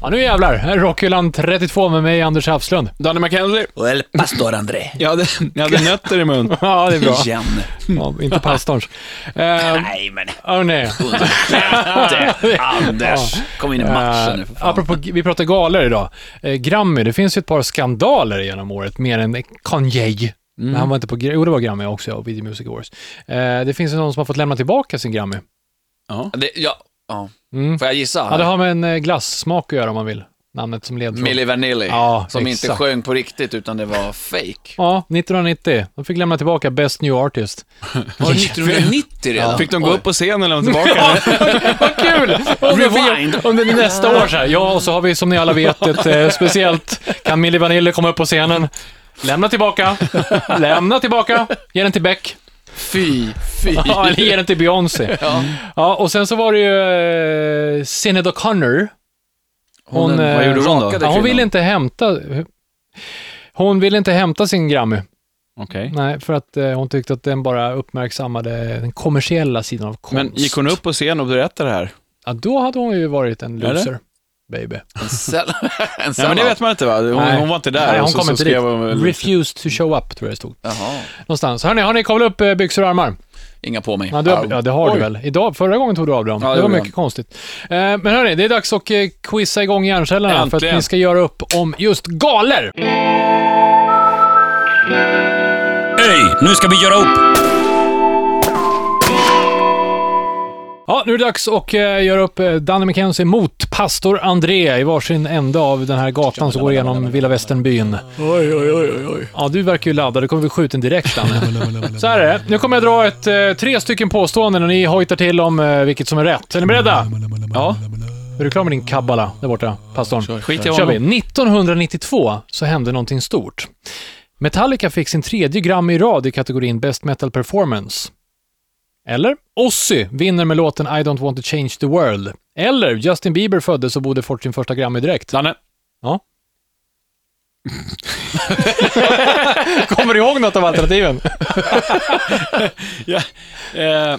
[SPEAKER 2] Ja, nu jävlar. Här är Rockhyllan 32 med mig, Anders Hafslund.
[SPEAKER 3] Danny McKenzie.
[SPEAKER 4] Och El Pastor André.
[SPEAKER 3] Jag hade, jag hade nötter i mun.
[SPEAKER 2] Ja, det är bra.
[SPEAKER 4] Igen.
[SPEAKER 2] Ja, inte pastorns. Eh,
[SPEAKER 4] Nej, men
[SPEAKER 2] oh, nej.
[SPEAKER 4] undersläppte Anders. Kom in i matchen nu för fan.
[SPEAKER 2] Apropå, vi pratar galor idag. Eh, Grammy, det finns ju ett par skandaler genom året, mer än Kanye.
[SPEAKER 4] Mm.
[SPEAKER 2] Men han var inte på, Gra- jo det var Grammy också, ja, och Video Music Awards. Eh, det finns ju någon som har fått lämna tillbaka sin Grammy.
[SPEAKER 3] Ja.
[SPEAKER 4] Det, ja, ja.
[SPEAKER 2] Mm.
[SPEAKER 4] Får jag gissa?
[SPEAKER 2] Ja, det har med en eh, glassmak att göra om man vill. Namnet som ledtråd.
[SPEAKER 4] Milli Vanilli,
[SPEAKER 2] Ja,
[SPEAKER 4] som inte
[SPEAKER 2] exakt.
[SPEAKER 4] sjöng på riktigt utan det var fake.
[SPEAKER 2] Ja, 1990. De fick lämna tillbaka Best New Artist.
[SPEAKER 4] Var det 1990 redan?
[SPEAKER 3] Fick de gå
[SPEAKER 4] Oj.
[SPEAKER 3] upp på scenen och lämna tillbaka den?
[SPEAKER 2] Vad *laughs* kul!
[SPEAKER 4] Rewind.
[SPEAKER 2] Under nästa år så här. Ja, och så har vi som ni alla vet
[SPEAKER 4] *laughs*
[SPEAKER 2] ett eh, speciellt. Kan Milli Vanilli komma upp på scenen? Lämna tillbaka.
[SPEAKER 4] *laughs*
[SPEAKER 2] Lämna tillbaka. Ge den till Beck.
[SPEAKER 4] Fy, fy.
[SPEAKER 2] *laughs* Ja, eller ge den till Beyoncé.
[SPEAKER 4] Ja.
[SPEAKER 2] Ja, och sen så var det ju eh, Sinead O'Connor. Hon,
[SPEAKER 4] Hon, eh,
[SPEAKER 2] vad gjorde
[SPEAKER 3] hon då?
[SPEAKER 4] rakade
[SPEAKER 2] Ja, hon
[SPEAKER 4] kvinnan.
[SPEAKER 2] ville inte hämta... Hon ville inte hämta sin Grammy.
[SPEAKER 3] Okej.
[SPEAKER 2] Nej, för att eh, hon tyckte att den bara uppmärksammade den kommersiella sidan av konst.
[SPEAKER 3] Men gick hon upp på scen och berättade det här?
[SPEAKER 2] Ja, då hade hon ju varit en
[SPEAKER 3] Eller?
[SPEAKER 2] loser. baby.
[SPEAKER 4] *laughs* En sell- en
[SPEAKER 3] Ja, men det
[SPEAKER 4] sellout.
[SPEAKER 3] vet man inte va? Hon,
[SPEAKER 2] Nej.
[SPEAKER 3] hon var inte där.
[SPEAKER 2] Nej,
[SPEAKER 3] och
[SPEAKER 2] hon
[SPEAKER 3] så,
[SPEAKER 2] kom
[SPEAKER 3] så
[SPEAKER 2] inte
[SPEAKER 3] skrev hon väl-
[SPEAKER 2] dit. Refused to show up, tror jag det stod.
[SPEAKER 4] Jaha,
[SPEAKER 2] Någonstans. Hörni, har ni kavlat upp eh, byxor och armar?
[SPEAKER 4] inga på mig.
[SPEAKER 2] Ja, du har, ja det har du
[SPEAKER 4] Oj.
[SPEAKER 2] väl. Idag, förra gången tog du av dem.
[SPEAKER 4] Ja, det
[SPEAKER 2] det var
[SPEAKER 4] gjorde
[SPEAKER 2] mycket
[SPEAKER 4] jag.
[SPEAKER 2] konstigt. Eh, men hörni, det är dags att eh, quizza igång hjärncellerna för att
[SPEAKER 3] Äntligen.
[SPEAKER 2] ni ska göra upp om just galer.
[SPEAKER 1] Hej, nu ska vi göra upp!
[SPEAKER 2] Ja, nu är det dags att eh, göra upp eh, Danny McKenzie mot pastor André i varsin ände av den här gatan som går igenom Villa Västernbyn.
[SPEAKER 3] Oj, oj, oj, oj.
[SPEAKER 2] Ja, du verkar ju laddad. Du kommer bli skjuten direkt, Danne. Så här är det. Nu kommer jag dra ett, eh, tre stycken påståenden och ni hojtar till om eh, vilket som är rätt. Är ni beredda?
[SPEAKER 3] Ja.
[SPEAKER 2] Är du klar med din kabbala där borta, pastorn?
[SPEAKER 3] Skit i
[SPEAKER 2] Då kör vi.
[SPEAKER 3] honom.
[SPEAKER 2] 1992 så hände någonting stort. Metallica fick sin tredje Grammy i rad i kategorin Best Metal Performance. Eller Ozzy vinner med låten I Don't Want To Change The World. Eller Justin Bieber föddes och borde fått sin första Grammy direkt.
[SPEAKER 3] Danne.
[SPEAKER 2] Ja. *laughs* Kommer du ihåg något av alternativen?
[SPEAKER 3] Eh,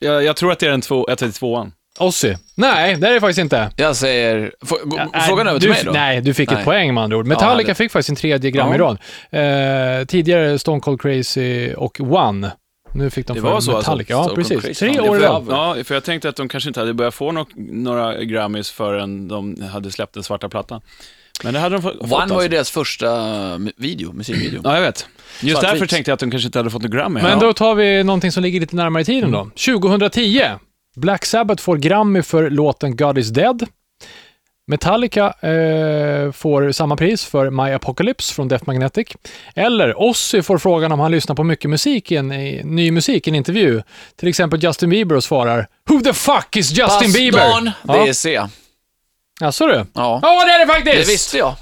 [SPEAKER 3] jag, jag tror att det är den två, ett, tvåan.
[SPEAKER 2] Ozzy? Nej, det är det faktiskt inte.
[SPEAKER 4] Jag säger... Får, gå-
[SPEAKER 2] Nej,
[SPEAKER 4] frågan över till
[SPEAKER 2] du,
[SPEAKER 4] mig då?
[SPEAKER 2] Nej, du fick ett
[SPEAKER 4] Nej.
[SPEAKER 2] poäng med andra ord. Metallica
[SPEAKER 4] det-
[SPEAKER 2] fick faktiskt sin tredje Grammy i
[SPEAKER 4] Ja.
[SPEAKER 2] rad. Eh, tidigare Stone Cold Crazy och One. Nu fick de
[SPEAKER 4] Det
[SPEAKER 2] för
[SPEAKER 4] var så alltså,
[SPEAKER 2] Metallica.
[SPEAKER 4] Stone
[SPEAKER 2] ja,
[SPEAKER 4] Cold
[SPEAKER 2] precis.
[SPEAKER 4] Crazy.
[SPEAKER 2] Tre
[SPEAKER 4] Ja,
[SPEAKER 2] år i
[SPEAKER 4] för-
[SPEAKER 2] rad.
[SPEAKER 3] Ja, för jag tänkte att de kanske inte hade börjat få några, några Grammys förrän de hade släppt den svarta plattan. Men det hade de fått. fått,
[SPEAKER 4] One var
[SPEAKER 3] alltså.
[SPEAKER 4] ju deras första mu- video, musikvideo.
[SPEAKER 3] Ja, jag vet. Just
[SPEAKER 4] Svartvit.
[SPEAKER 3] därför tänkte jag att de kanske inte hade fått några Grammy.
[SPEAKER 2] Men
[SPEAKER 3] Ja.
[SPEAKER 2] då tar vi någonting som ligger lite närmare i tiden
[SPEAKER 4] Mm.
[SPEAKER 2] då. 2010. Black Sabbath får Grammy för låten God is dead. Metallica eh, får samma pris för My Apocalypse från Death Magnetic. Eller Ozzy får frågan om han lyssnar på mycket musik i en i, ny musik i en intervju. Till exempel Justin Bieber och svarar “Who the fuck is Justin Bieber?”
[SPEAKER 4] Det är
[SPEAKER 2] ja.
[SPEAKER 4] C.
[SPEAKER 2] Jaså du?
[SPEAKER 4] Ja.
[SPEAKER 2] Ja, det är det faktiskt!
[SPEAKER 4] Det visste jag.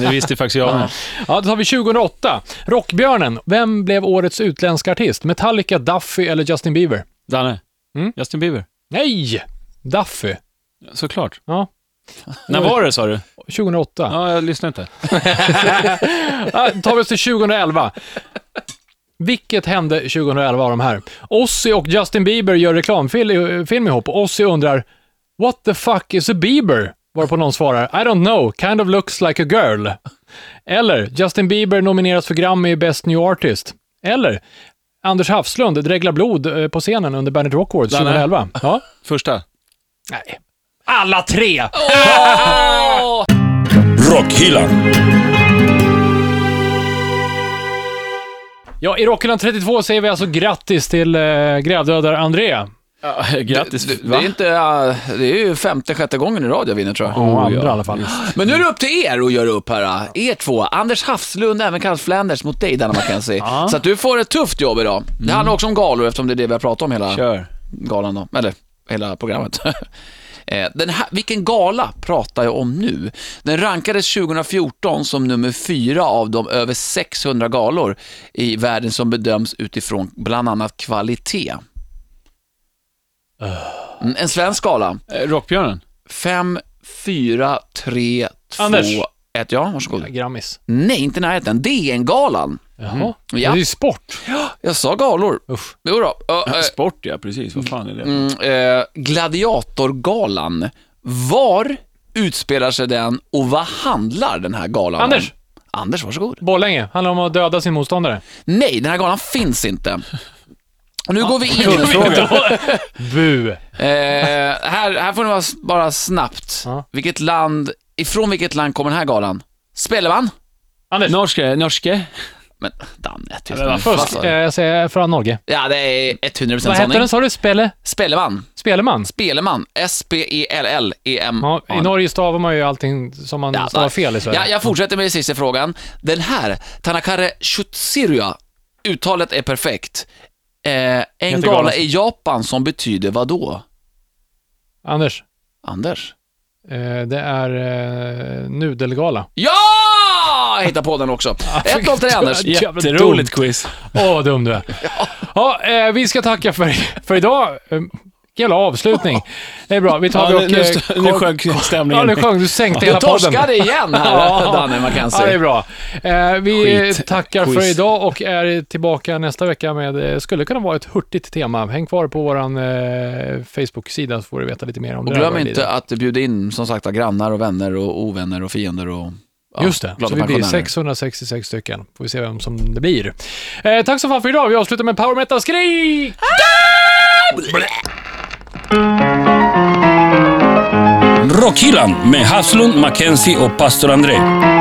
[SPEAKER 3] det visste faktiskt jag med.
[SPEAKER 2] Ja, då tar vi 2008. Rockbjörnen. Vem blev årets utländska artist? Metallica, Duffy eller Justin Bieber?
[SPEAKER 3] Danne.
[SPEAKER 2] Mm.
[SPEAKER 3] Justin Bieber.
[SPEAKER 2] Nej! Duffy.
[SPEAKER 3] Såklart.
[SPEAKER 2] Ja.
[SPEAKER 3] När var det sa du?
[SPEAKER 2] 2008. Ja.
[SPEAKER 3] Ja, jag lyssnade inte.
[SPEAKER 2] tar vi oss till 2011. Vilket hände 2011 av de här? Ozzy och Justin Bieber gör reklamfilm film ihop och Ozzy undrar “What the fuck is a Bieber?” varpå någon svarar “I don't know, kind of looks like a girl”. Eller “Justin Bieber nomineras för Grammy i Best New Artist”. Eller Anders Hafslund dreglar blod eh, på scenen under Bandit Rock Awards
[SPEAKER 3] Danne.
[SPEAKER 2] 2011. Ja.
[SPEAKER 3] Första.
[SPEAKER 2] *laughs* Nej. Alla tre!
[SPEAKER 1] Rockhyllan.
[SPEAKER 2] Ja, i Rockhyllan 32 säger vi alltså grattis till eh, grävdödar André.
[SPEAKER 3] *laughs* Grattis.
[SPEAKER 4] Det, det,
[SPEAKER 3] va?
[SPEAKER 4] är inte, äh, det är ju femte, sjätte gången i rad jag vinner tror jag.
[SPEAKER 2] Och andra i alla fall.
[SPEAKER 4] Men nu är det upp till er att göra upp här. äh. Er två, Anders Hafslund, även kallad Flanders, mot dig Danne McKenzie. Så att du får ett tufft jobb idag. Det
[SPEAKER 2] Mm.
[SPEAKER 4] handlar också om galor eftersom det är det vi har pratat om hela
[SPEAKER 3] Kör.
[SPEAKER 4] galan då, eller hela programmet. *laughs* Eh, Den här, vilken gala pratar jag om nu? Den rankades 2014 som nummer fyra av de över 600 galor i världen som bedöms utifrån bland annat kvalitet. Mm, En svensk gala.
[SPEAKER 3] Eh, Rockbjörnen.
[SPEAKER 4] fem fyra tre
[SPEAKER 2] Anders.
[SPEAKER 4] två ett Ja, Mm. varsågod.
[SPEAKER 2] Grammis.
[SPEAKER 4] Nej, inte närheten. DN-galan.
[SPEAKER 2] Jaha.
[SPEAKER 4] Ja.
[SPEAKER 2] Det är ju sport.
[SPEAKER 4] Jag sa galor.
[SPEAKER 2] Usch.
[SPEAKER 4] Jo då.
[SPEAKER 2] *laughs*
[SPEAKER 4] Ö, ö,
[SPEAKER 3] Sport, ja precis. Vad fan är det?
[SPEAKER 4] Mm, eh, gladiatorgalan. Var utspelar sig den och vad handlar den här galan
[SPEAKER 2] Anders.
[SPEAKER 4] om? Anders, varsågod.
[SPEAKER 2] Borlänge. Handlar om att döda sin motståndare.
[SPEAKER 4] Nej, den här galan finns inte. Och nu går vi in.
[SPEAKER 2] Bu.
[SPEAKER 4] Eh, här, här får ni vara s- bara snabbt.
[SPEAKER 2] Ja.
[SPEAKER 4] Vilket land, ifrån vilket land kommer den här galan? Spelman?
[SPEAKER 2] Anders.
[SPEAKER 3] Norske. Norske.
[SPEAKER 4] Men Danne, tyst
[SPEAKER 2] Det var
[SPEAKER 4] nu. Vad
[SPEAKER 2] först.
[SPEAKER 4] sa
[SPEAKER 2] Eh,
[SPEAKER 4] du?
[SPEAKER 2] Jag säger från Norge.
[SPEAKER 4] Ja, det är 100%
[SPEAKER 2] Vad hette
[SPEAKER 4] sanning.
[SPEAKER 2] den sa du? Spelle?
[SPEAKER 4] Spelman.
[SPEAKER 2] Speleman?
[SPEAKER 4] Speleman. E S-P-E-L-L-E-M.
[SPEAKER 2] Ja, I Norge stavar man ju allting som man stavar fel i Sverige.
[SPEAKER 4] Ja, jag fortsätter med den sista frågan. Den här, Tanakare Shutsurya, uttalet är perfekt. Eh, en
[SPEAKER 3] Jättegalen.
[SPEAKER 4] gala i Japan som betyder vad då?
[SPEAKER 2] Anders.
[SPEAKER 4] Anders?
[SPEAKER 2] Eh, det är eh, nudelgala.
[SPEAKER 4] Ja! Jag hittar på den också. 1-0 till dig,
[SPEAKER 2] *laughs*
[SPEAKER 4] Anders.
[SPEAKER 2] Jävla
[SPEAKER 3] Jätteroligt quiz.
[SPEAKER 4] *laughs*
[SPEAKER 2] Åh, vad dum du är. Ja, eh, vi ska tacka för, för idag. Eh, jävla avslutning. Det är bra. Vi tar
[SPEAKER 3] Ja,
[SPEAKER 2] vi och...
[SPEAKER 3] nu, nu,
[SPEAKER 2] eh,
[SPEAKER 3] st- nu
[SPEAKER 2] kon-
[SPEAKER 3] *laughs* sjönk
[SPEAKER 2] Ja,
[SPEAKER 3] stämningen.
[SPEAKER 2] nu sjöng du. sänkte hela
[SPEAKER 4] Jag
[SPEAKER 2] podden.
[SPEAKER 4] torskade igen här, Danne
[SPEAKER 2] *laughs* Ja, det är
[SPEAKER 4] Mackenzie.
[SPEAKER 2] bra. Eh, vi
[SPEAKER 3] Skit.
[SPEAKER 2] tackar för
[SPEAKER 3] Quiz.
[SPEAKER 2] idag och är tillbaka nästa vecka med, eh, skulle kunna vara ett hurtigt tema. Häng kvar på vår eh, Facebook-sida så får du veta lite mer om
[SPEAKER 4] Och
[SPEAKER 2] det. där,
[SPEAKER 4] glöm
[SPEAKER 2] vad det
[SPEAKER 4] inte
[SPEAKER 2] lider.
[SPEAKER 4] att bjuda in, som sagt, grannar och vänner och ovänner och fiender och ja,
[SPEAKER 2] Just det,
[SPEAKER 4] glada
[SPEAKER 2] så vi blir
[SPEAKER 4] pensionärer.
[SPEAKER 2] 666 stycken. Får vi se vem som det blir. Eh, tack så fan för idag. Vi avslutar med Power Metal-skrik!
[SPEAKER 1] Rockhyllan med Haslund, Mackenzie och pastor André.